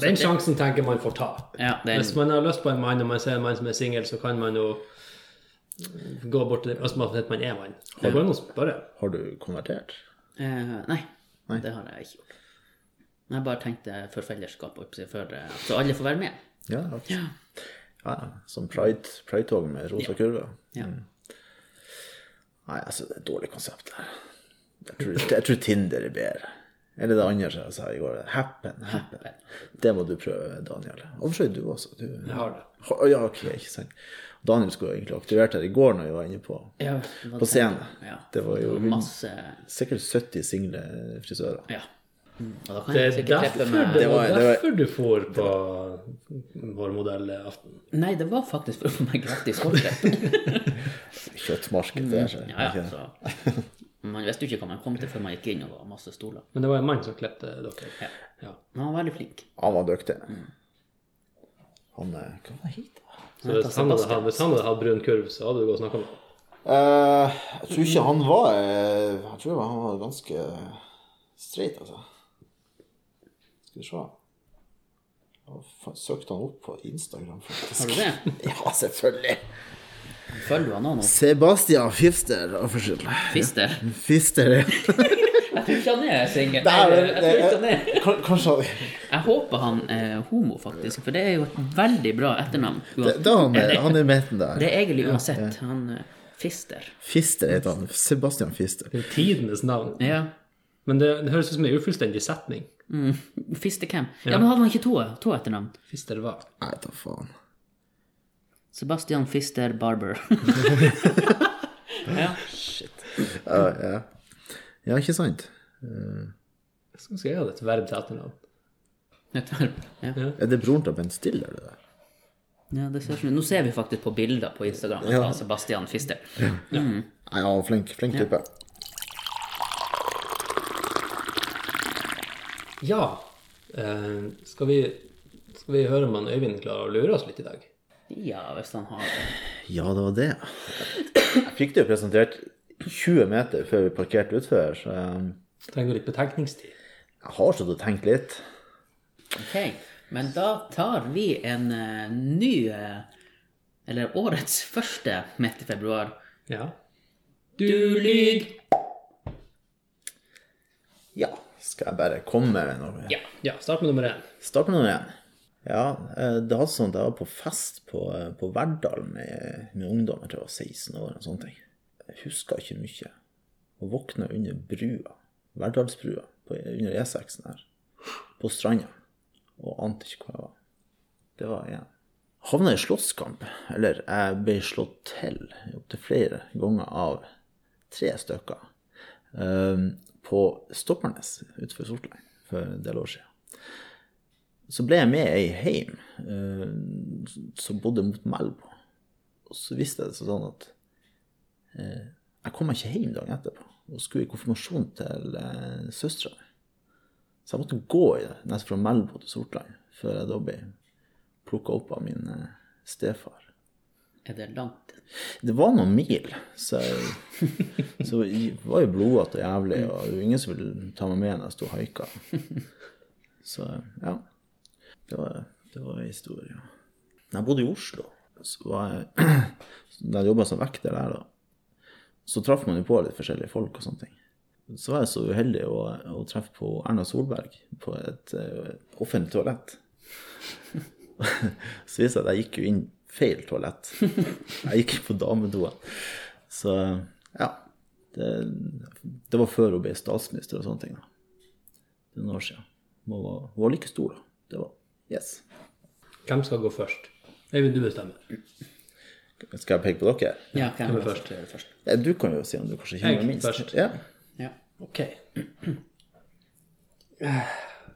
Speaker 1: Den sjansen tenker man får ta.
Speaker 2: Ja, den,
Speaker 1: Hvis man har lyst på en mann, og man ser en mann som er singel, så kan man jo gå bort til Hvis man vet man er mann. Det går an å spørre.
Speaker 3: Har du konvertert?
Speaker 2: eh, nei,
Speaker 3: Nei.
Speaker 2: det har jeg ikke gjort. Jeg bare tenkte for fellesskap, holdt på å si, for, eh, så alle får være med.
Speaker 3: Ja. ja. ja som pride- pride-tog med rosa kurve.
Speaker 2: Ja.
Speaker 3: Mm. Nei, altså, det er et dårlig konsept. her. Jeg tror, jeg tror Tinder er bedre. Eller det andre som jeg sa i går. Happen, happen. Det må du prøve, Daniel. Hvorfor er du også? Du...
Speaker 1: Jeg har det.
Speaker 3: Å, Ja, ok, ikke sant. Daniel skulle jo egentlig ha aktivert her i går når vi var inne på,
Speaker 2: Ja,
Speaker 3: på scenen.
Speaker 2: Ja.
Speaker 3: Det var jo
Speaker 2: Masse
Speaker 3: sikkert 70 single frisører.
Speaker 2: Ja. Mm, Og da kan
Speaker 1: Det
Speaker 2: jeg
Speaker 1: er
Speaker 2: sikkert
Speaker 1: derfor,
Speaker 2: treffe
Speaker 1: det
Speaker 2: meg
Speaker 1: var,
Speaker 3: Det var- det var-
Speaker 1: derfor du får på vår modellaften.
Speaker 2: Nei, det var faktisk for å få meg gratis hårklipp.
Speaker 3: Kjøttmarked, det er seg.
Speaker 2: Mm. Ja, ja, så. <laughs> Man visste jo ikke hva man kom til før man gikk inn og det var masse stoler.
Speaker 1: Men det var en mann som klepte dere. Ja.
Speaker 2: Men han var veldig flink.
Speaker 3: Han var dyktig. Han eh, Hva var det hit, da?
Speaker 1: Så hvis han hadde hatt- hvis han hadde hatt brun kurv, så hadde du gått og snakka med ham.
Speaker 3: Eh, jeg tror ikke han var eh, Jeg tror han var ganske streit, altså. Skal vi se Hva faen, Søkte han opp på Instagram, faktisk. <laughs>
Speaker 2: Har du det?
Speaker 3: Ja, selvfølgelig.
Speaker 2: Følger du han nå?
Speaker 3: Sebastian Fister, å, unnskyld.
Speaker 2: Fister?
Speaker 3: Fister, ja.
Speaker 2: Jeg tror ikke han er singel.
Speaker 3: Der,
Speaker 2: Jeg tror ikke han er
Speaker 3: eh, kan- Kanskje han
Speaker 2: Jeg håper han er homo, faktisk, for det er jo et veldig bra etternavn.
Speaker 3: Det- da han, er- han er i midten der.
Speaker 2: Det er egentlig uansett. Han eh, Fister.
Speaker 3: Fister heter han. Sebastian Fister.
Speaker 1: Det er tidenes navn.
Speaker 2: Ja.
Speaker 1: Men det, det høres ut som en ufullstendig setning.
Speaker 2: Fistercam. Ja, men hadde han ikke to, to etternavn?
Speaker 1: Fister hva?
Speaker 3: Nei, da faen.
Speaker 2: Sebastian Fister Barber. <laughs> ja.
Speaker 3: Ja, ja. ja, ikke sant?
Speaker 1: Jeg skulle ønske jeg hadde et verb til etternavn.
Speaker 2: Et verb. Ja.
Speaker 3: Er det broren til Ben Stiller, det der?
Speaker 2: Ja, det ser sånn ut. Nå ser vi faktisk på bilder på Instagram at
Speaker 3: Ja.
Speaker 2: han Sebastian Fister.
Speaker 3: Nei, han var flink. Flink type.
Speaker 1: Ja, eh, skal, vi, skal vi høre om han Øyvind klarer å lure oss litt i dag?
Speaker 2: Ja, hvis han har
Speaker 3: Ja, det var det. Jeg fikk det jo presentert 20 meter før vi parkerte utfor, så eh,
Speaker 1: Trenger litt betenkningstid.
Speaker 3: jeg har stått og tenkt litt.
Speaker 2: Ok, men da tar vi en eh, ny eh, Eller årets første midt i februar.
Speaker 1: Ja.
Speaker 2: Du lyg!
Speaker 3: Ja, skal jeg bare komme med noe?
Speaker 2: Ja.
Speaker 1: Ja, start med nummer én.
Speaker 3: Start med noe igjen. Ja, eh, det var sånn at jeg var på fest på, eh, på Verdal med, med ungdommer til jeg var 16 år og sånne ting. Jeg husker ikke mye. Og våkna under brua, Verdalsbrua, på, under E6-en her, på stranda. Og ante ikke hvor jeg var. Det var igjen. Havna i slåsskamp, eller jeg ble slått til opptil flere ganger av tre stykker eh, på Stoppernes utenfor Sortland for en del år siden. Så ble jeg med ei heim eh, som bodde mot Melbu. Og så visste jeg det sånn at eh, jeg kom meg ikke hjem dagen etterpå. Og skulle i konfirmasjon til uh, søstera mi. Så jeg måtte gå i det, nesten fra Melbu til Sortland før jeg da ble plukka opp av min eh, stefar.
Speaker 2: Er det langt?
Speaker 3: Det var noen mil, så jeg, så jeg var jo blodete og jævlig, og det var ingen som ville ta meg med når jeg sto og haika. Så ja. Det var, det var en historie. Når jeg bodde i Oslo, så var jeg <clears throat> Da jeg jobba som vekter der, da, så traff man jo på litt forskjellige folk og sånne ting. Så var jeg så uheldig å, å treffe på Erna Solberg på et eh, offentlig toalett. <laughs> Så viste det seg at jeg gikk jo inn feil toalett. Jeg gikk på damedoa. Så ja. Det, det var før hun ble statsminister og sånne ting. da. Det er noen år siden. Hun var, hun var like stor, da. Det var Yes.
Speaker 1: Hvem skal gå først? Øyvind, du bestemmer.
Speaker 3: Skal jeg peke på dere?
Speaker 2: Ja, hvem
Speaker 1: er først?
Speaker 2: er først? Hvem er først?
Speaker 3: Ja, du kan jo si om du kanskje
Speaker 1: Jeg
Speaker 3: kjenner minst.
Speaker 1: først.
Speaker 3: Ja.
Speaker 2: Ja.
Speaker 1: Ok. <clears throat>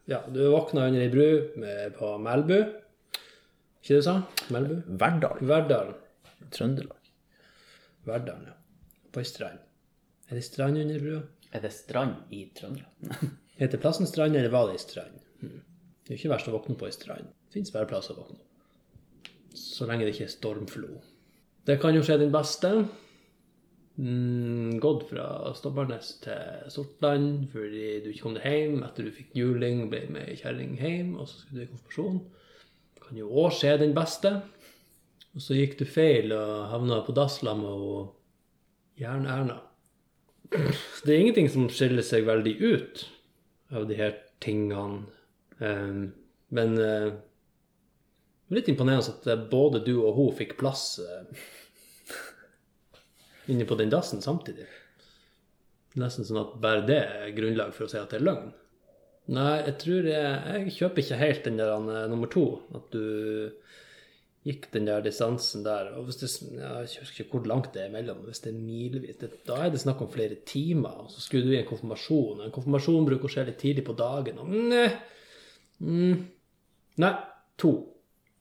Speaker 1: Ja, du våkna under ei bru med, på Melbu. Ikke det du sa? Melbu?
Speaker 3: Verdal.
Speaker 1: Verdalen.
Speaker 3: Trøndelag.
Speaker 1: Verdalen, ja. På ei strand. Er det strand under brua?
Speaker 2: Er det strand i Trøndelag?
Speaker 1: Heter plassen strand, eller var det ei strand? Hmm. Det er jo ikke verst å våkne på ei strand. Det fins bare plasser å våkne opp. Så lenge det ikke er stormflo. Det kan jo skje den beste. Mm, gått fra Stobbernes til Sortland fordi du ikke kom deg hjem etter du fikk juling, ble med ei kjerring hjem, og så skulle du i konfirmasjon. Kan jo òg skje den beste. Og så gikk du feil og havna på Dasla med Jern-Erna. Så det er ingenting som skiller seg veldig ut av de her tingene. Ehm, men eh, det er litt imponerende at eh, både du og hun fikk plass eh, <laughs> inne på den dassen samtidig. Nesten sånn at bare det er grunnlag for å si at det er løgn. Nei, jeg tror jeg, jeg kjøper ikke helt den der eh, nummer to. At du gikk den der distansen der. Og hvis det, ja, jeg husker ikke hvor langt det er imellom, men hvis det er milevis, det, da er det snakk om flere timer. Og så skulle du i en konfirmasjon, og en konfirmasjon bruker å skje litt tidlig på dagen. Og nei, mm, nei to.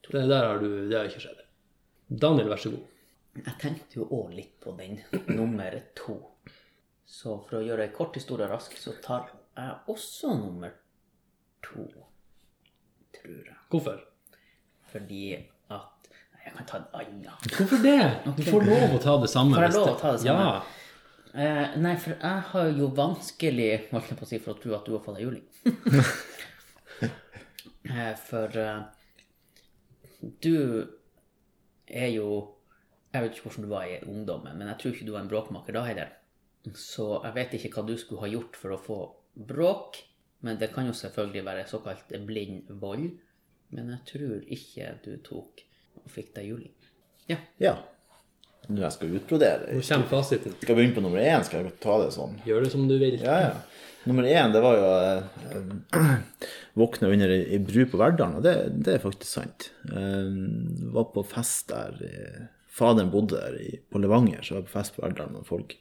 Speaker 1: Det der har du, det har ikke skjedd. Daniel, vær så god.
Speaker 2: Jeg tenkte jo òg litt på den nummer to. Så for å gjøre en kort historie rask, så tar jeg også nummer to, tror jeg.
Speaker 1: Hvorfor?
Speaker 2: Fordi at Nei, Jeg kan ta en annen.
Speaker 1: Hvorfor det? Du får lov å ta det samme.
Speaker 2: Får jeg
Speaker 1: hvis
Speaker 2: lov å ta det samme?
Speaker 1: Ja.
Speaker 2: Eh, nei, for jeg har jo vanskelig holdt jeg på å si, for å tro at du har fått deg juling. eh, for eh, du er jo Jeg vet ikke hvordan du var i ungdommen, men jeg tror ikke du var en bråkmaker da heller. Så jeg vet ikke hva du skulle ha gjort for å få bråk, men det kan jo selvfølgelig være såkalt blind vold. Men jeg tror ikke du tok og fikk deg juling. Ja, <laughs>
Speaker 3: Ja. Nå jeg skal utbrodere.
Speaker 1: Nå kommer fasiten.
Speaker 3: Skal jeg begynne på nummer én? Skal jeg ta det sånn?
Speaker 1: Gjør det som du vil.
Speaker 3: Ja, ja. Nummer én, det var jo eh, våkne under ei ei bru på Verdalen, og det, det er faktisk sant. Eh, var på fest der eh, Faderen bodde der i, på Levanger, så var jeg på fest på Verdalen, og folk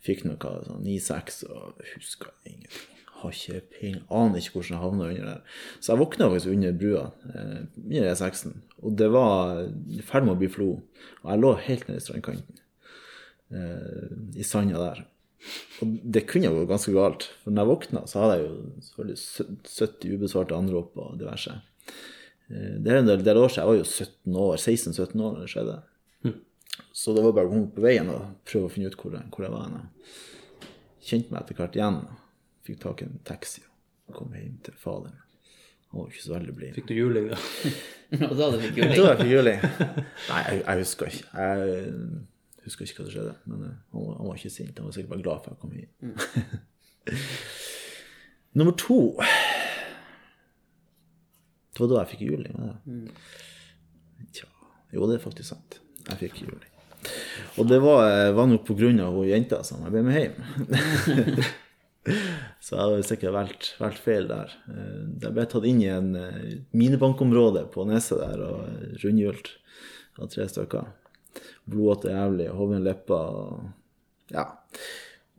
Speaker 3: fikk noe sånn 9-6 og huska ingenting. Har ikke peiling, aner ikke hvordan jeg havna under der. Så jeg våkna faktisk under brua, eh, under E6-en, og det var i ferd med å bli flo. Og jeg lå helt nede i strandkanten, eh, i sanda der. Og det kunne jo gå ganske galt. For når jeg våkna, så hadde jeg jo selvfølgelig sø- 70 ubesvarte anrop og diverse. Eh, Det er en del, del år siden. Jeg var jo 17 år, 16-17 år da det skjedde. Så det var bare å komme opp på veien og prøve å finne ut hvor jeg, hvor jeg var. hen. Kjente meg etter hvert igjen. Fikk tak i en taxi og kom hjem til faderen. Han var jo ikke så veldig blid.
Speaker 1: Fikk du juling, da?
Speaker 2: og da hadde vi
Speaker 3: Jeg <laughs>
Speaker 2: juling.
Speaker 3: tror jeg fikk juling. Nei, jeg, jeg husker ikke. Jeg husker ikke hva som skjedde. Men eh, han, var- han var ikke sint. Han var sikkert bare glad for at jeg kom hit. <laughs> Nummer to Det var da jeg fikk juling. var det? Tja Jo, det er faktisk sant. Jeg fikk juling. Og det var, eh, var nok på grunn av hun jenta som jeg ble med hjem. Så jeg har sikkert valgt, valgt feil der. Eh, Jeg ble tatt inn i en eh, minibankområde på Neset der og eh, rundhjult av tre stykker. Blodete jævlig, hovne lepper og ja.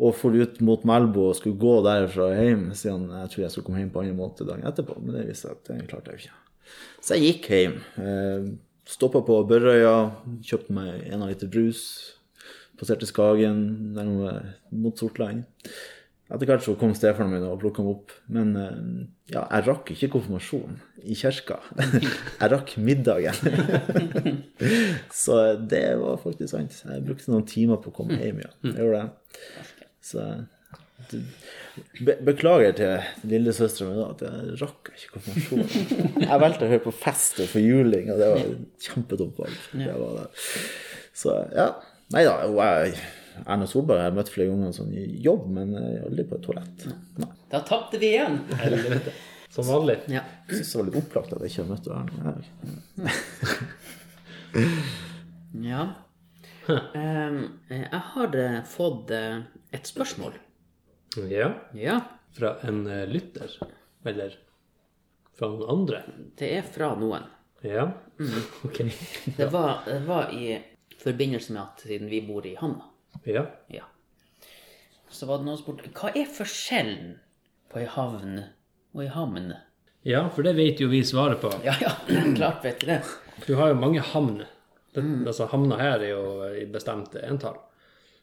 Speaker 3: Og for ut mot Melbu og skulle gå derfra hjem, siden jeg tror jeg skulle komme hjem på andre måte dagen etterpå, men det viste seg at det klarte jeg jo ikke. Så jeg gikk hjem. Stoppa på Børrøya, kjøpte meg en av liter brus. Passerte Skagen, nærmere mot Sortland. Etter hvert så kom stefaren min og plukka meg opp. Men eh, ja, jeg rakk ikke konfirmasjonen i kirka. <laughs> Jeg rakk middagen. <laughs> Så det var faktisk sant. Jeg brukte noen timer på å komme hjem igjen. Jeg gjorde det. Så du- be beklager til lillesøstera mi da at jeg rakk ikke konfirmasjonen. Jeg valgte å høre på fest og få juling, og det var et kjempedumt valg. Det var det. Så ja. Nei da, hun er- Erna Solberg har jeg møtt flere ganger sånn i jobb, men jeg er aldri på et toalett. Nei.
Speaker 2: Da tapte vi igjen.
Speaker 1: Helvete. Som vanlig.
Speaker 2: Ja.
Speaker 3: Jeg synes det var litt opplagt at jeg ikke har møtt Erna. Jeg-
Speaker 2: Ja. Em, jeg har eh, fått eh, et spørsmål.
Speaker 1: Ja.
Speaker 2: Ja.
Speaker 1: Fra en eh, lytter. Eller fra noen andre.
Speaker 2: Det er fra noen.
Speaker 1: Ja. <laughs> Ok.
Speaker 2: Det var, det var i forbindelse med at siden vi bor i Hamna,
Speaker 1: Ja.
Speaker 2: ja. så var det noen som spurte hva er forskjellen på ei havn og ei havn?
Speaker 1: ja, for det vet jo vi svaret på.
Speaker 2: Ja, <clears throat> ja, klart vet du det.
Speaker 1: Du har jo mange havner. Det, altså, havna her er jo i bestemte entall.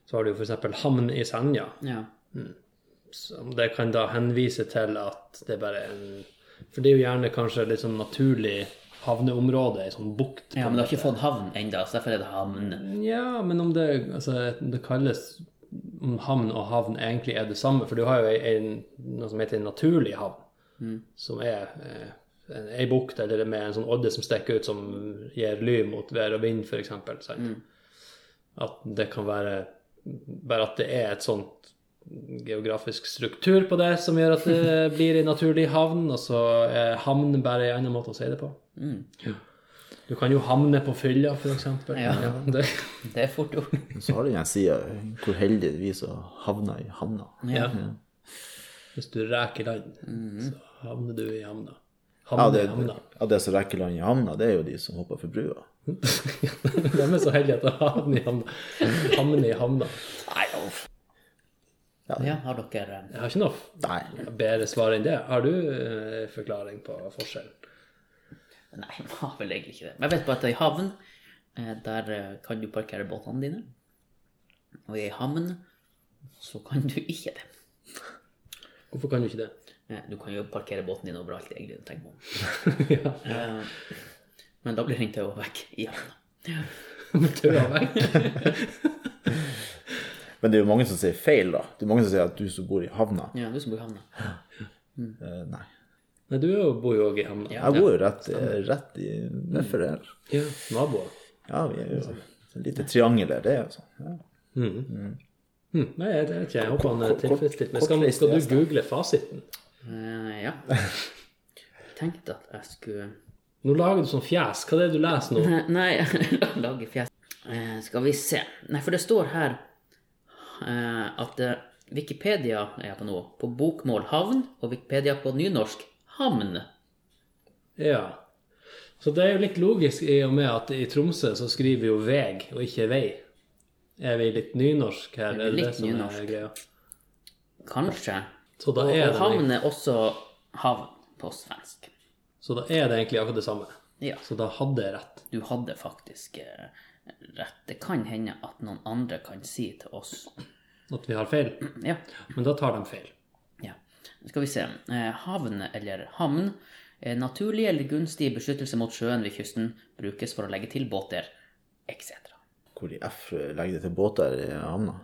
Speaker 1: Så har du jo f.eks. havn i Senja.
Speaker 2: Ja.
Speaker 1: som det kan da henvise til at det bare er en For det er jo gjerne kanskje litt sånn naturlig havneområde, ei sånn bukt. på
Speaker 2: ja, men
Speaker 1: en
Speaker 2: du har ikke
Speaker 1: måte.
Speaker 2: fått havn ennå, så derfor er det havn.
Speaker 1: Ja, men om det, altså, om det kalles om havn og havn egentlig er det samme, for du har jo ei- ei- noe som heter en naturlig havn, som er eh, en- ei bukt eller med en sånn odde som stikker ut, som gir ly mot vær og vind, f.eks. At det kan være Bare at det er et sånt geografisk struktur på det som gjør at det blir ei naturlig havn, og så er havn bare en annen måte å si det på.
Speaker 2: Mm,
Speaker 1: Ja. Du kan jo havne på fylla, f.eks.
Speaker 2: Ja.
Speaker 1: det,
Speaker 2: Det er fort gjort.
Speaker 3: Så har du den sida hvor heldige vi som havna i havna.
Speaker 1: ja.
Speaker 3: Mhm.
Speaker 1: Hvis du reker land, så havner du i havna. Havner
Speaker 3: Ja,
Speaker 1: i
Speaker 3: det,
Speaker 1: havna. <laughs>
Speaker 3: ja, det som rekker land i havna, det er jo de som hopper for brua.
Speaker 1: De er så heldige at de havner i havna. Havner i havna.
Speaker 2: Ja, har dere eh,
Speaker 1: Jeg har ikke noe
Speaker 3: Nei.
Speaker 1: bedre svar enn det. Har du eh, forklaring på forskjellen?
Speaker 2: Nei, <laughs> jeg har vel egentlig ikke det. Men jeg vet bare at i havn, eh, der eh, kan du parkere båtene dine. Og i havn så kan du ikke det.
Speaker 1: Hvorfor kan du ikke det? <laughs>
Speaker 2: Eh, Du kan jo parkere båten din overalt, egentlig. du tenker på.
Speaker 1: ja,
Speaker 2: Eh, Men da blir den taua vekk i havna.
Speaker 1: Tøa vekk.
Speaker 3: Men det er jo mange som sier feil, da. Det er mange som sier at du som bor i havna
Speaker 2: Ja, du som bor i havna.
Speaker 3: Eh, Nei.
Speaker 1: Nei, du er jo- bor jo òg i havna. Mm.
Speaker 2: Ja.
Speaker 3: eh, Jeg bor jo rett, rett i Hvorfor det?
Speaker 1: ja. Naboer.
Speaker 3: Ja, vi er jo Lite triangel der, det er jo sånn. Ja.
Speaker 1: Mhm. Hm, nei, jeg vet ikke. Jeg håper han er
Speaker 3: Mhm. Kort- kort-
Speaker 1: tilfredsstilt. Men skal,
Speaker 3: kortreist
Speaker 1: skal du
Speaker 3: gjest, da.
Speaker 1: google fasiten?
Speaker 2: Eh, ja. Jeg tenkte at jeg skulle
Speaker 1: Nå lager du sånn fjes. Hva er det du leser
Speaker 3: <laughs>
Speaker 1: nå?
Speaker 2: Eh, <clears throat> Nei, <laughs> lage fjes. Eh, skal vi se. Nei, for det står her eh, at eh, Wikipedia er på nå på bokmål havn, og Wikipedia på nynorsk havn.
Speaker 1: Ja. Så det er jo litt logisk i og med at i Tromsø så skriver vi jo veg og ikke vei. Er vi litt nynorsk her? Er
Speaker 2: Er vi
Speaker 1: det
Speaker 2: litt
Speaker 1: det som
Speaker 2: nynorsk?
Speaker 1: er greia?
Speaker 2: Kanskje.
Speaker 1: Så da
Speaker 2: Og,
Speaker 1: er
Speaker 2: og
Speaker 1: det
Speaker 2: havn er også havn på svensk.
Speaker 1: Så da er det egentlig akkurat det samme.
Speaker 2: Ja.
Speaker 1: Så da hadde jeg rett.
Speaker 2: Du hadde faktisk eh, rett. Det kan hende at noen andre kan si til oss <clears throat>
Speaker 1: At vi har feil.
Speaker 2: Ja.
Speaker 1: Men da tar de feil.
Speaker 2: ja. Skal vi se. Eh, Havn, eller havn, er naturlig eller gunstig beskyttelse mot sjøen ved kysten, brukes for å legge til båter, etc.
Speaker 3: Hvor i F legger de til båter i havna?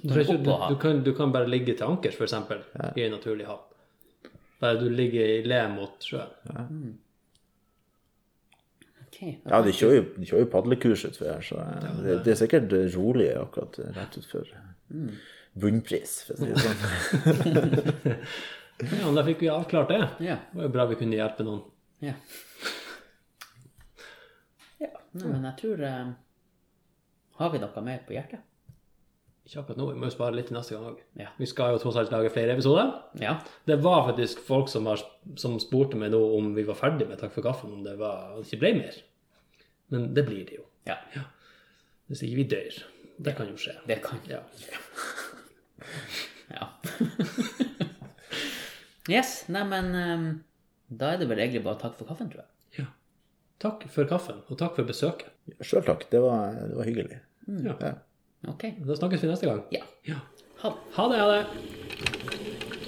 Speaker 1: Du, trenger ikke,
Speaker 2: opp
Speaker 1: du,
Speaker 2: og ha.
Speaker 1: du, kan, du kan bare ligge til ankers, f.eks., eksempel i en naturlig havn. Bare du ligger i le mot sjøen.
Speaker 2: Okay.
Speaker 3: Ja, de kjører jo, de kjører jo padlekurs utfor her, så eh, det, det er Mm. sikkert rolig akkurat eh, rett utfor bunnpris, for å si det sånn. <laughs>
Speaker 1: Ja, men Da fikk vi avklart det.
Speaker 2: Ja.
Speaker 1: Det var jo bra vi kunne hjelpe noen.
Speaker 2: Ja. ja. Nei, men jeg tror eh, Har vi noe mer på hjertet?
Speaker 1: Ikke akkurat nå, vi må jo spare litt til neste gang òg.
Speaker 2: Ja.
Speaker 1: Vi skal jo tross alt lage flere episoder.
Speaker 2: ja.
Speaker 1: Det var faktisk folk som, har, som spurte meg nå om vi var ferdig med Takk for kaffen, om det, var, om det ikke ble mer. Men det blir det jo.
Speaker 2: Ja.
Speaker 1: Hvis ikke vi dør. Det kan jo skje.
Speaker 2: Det kan
Speaker 1: Ja.
Speaker 2: Ja. <laughs> yes. Nei, men eh, da er det vel egentlig bare takk for kaffen, tror jeg.
Speaker 1: ja. Takk for kaffen, og takk for besøket.
Speaker 3: Sjøl takk, det var, det var hyggelig.
Speaker 1: Ja.
Speaker 3: Ja.
Speaker 2: Ok.
Speaker 1: Da snakkes vi neste gang.
Speaker 2: Mm. Ja.
Speaker 1: Ja.
Speaker 2: Ha det.
Speaker 1: Ha det, ha det.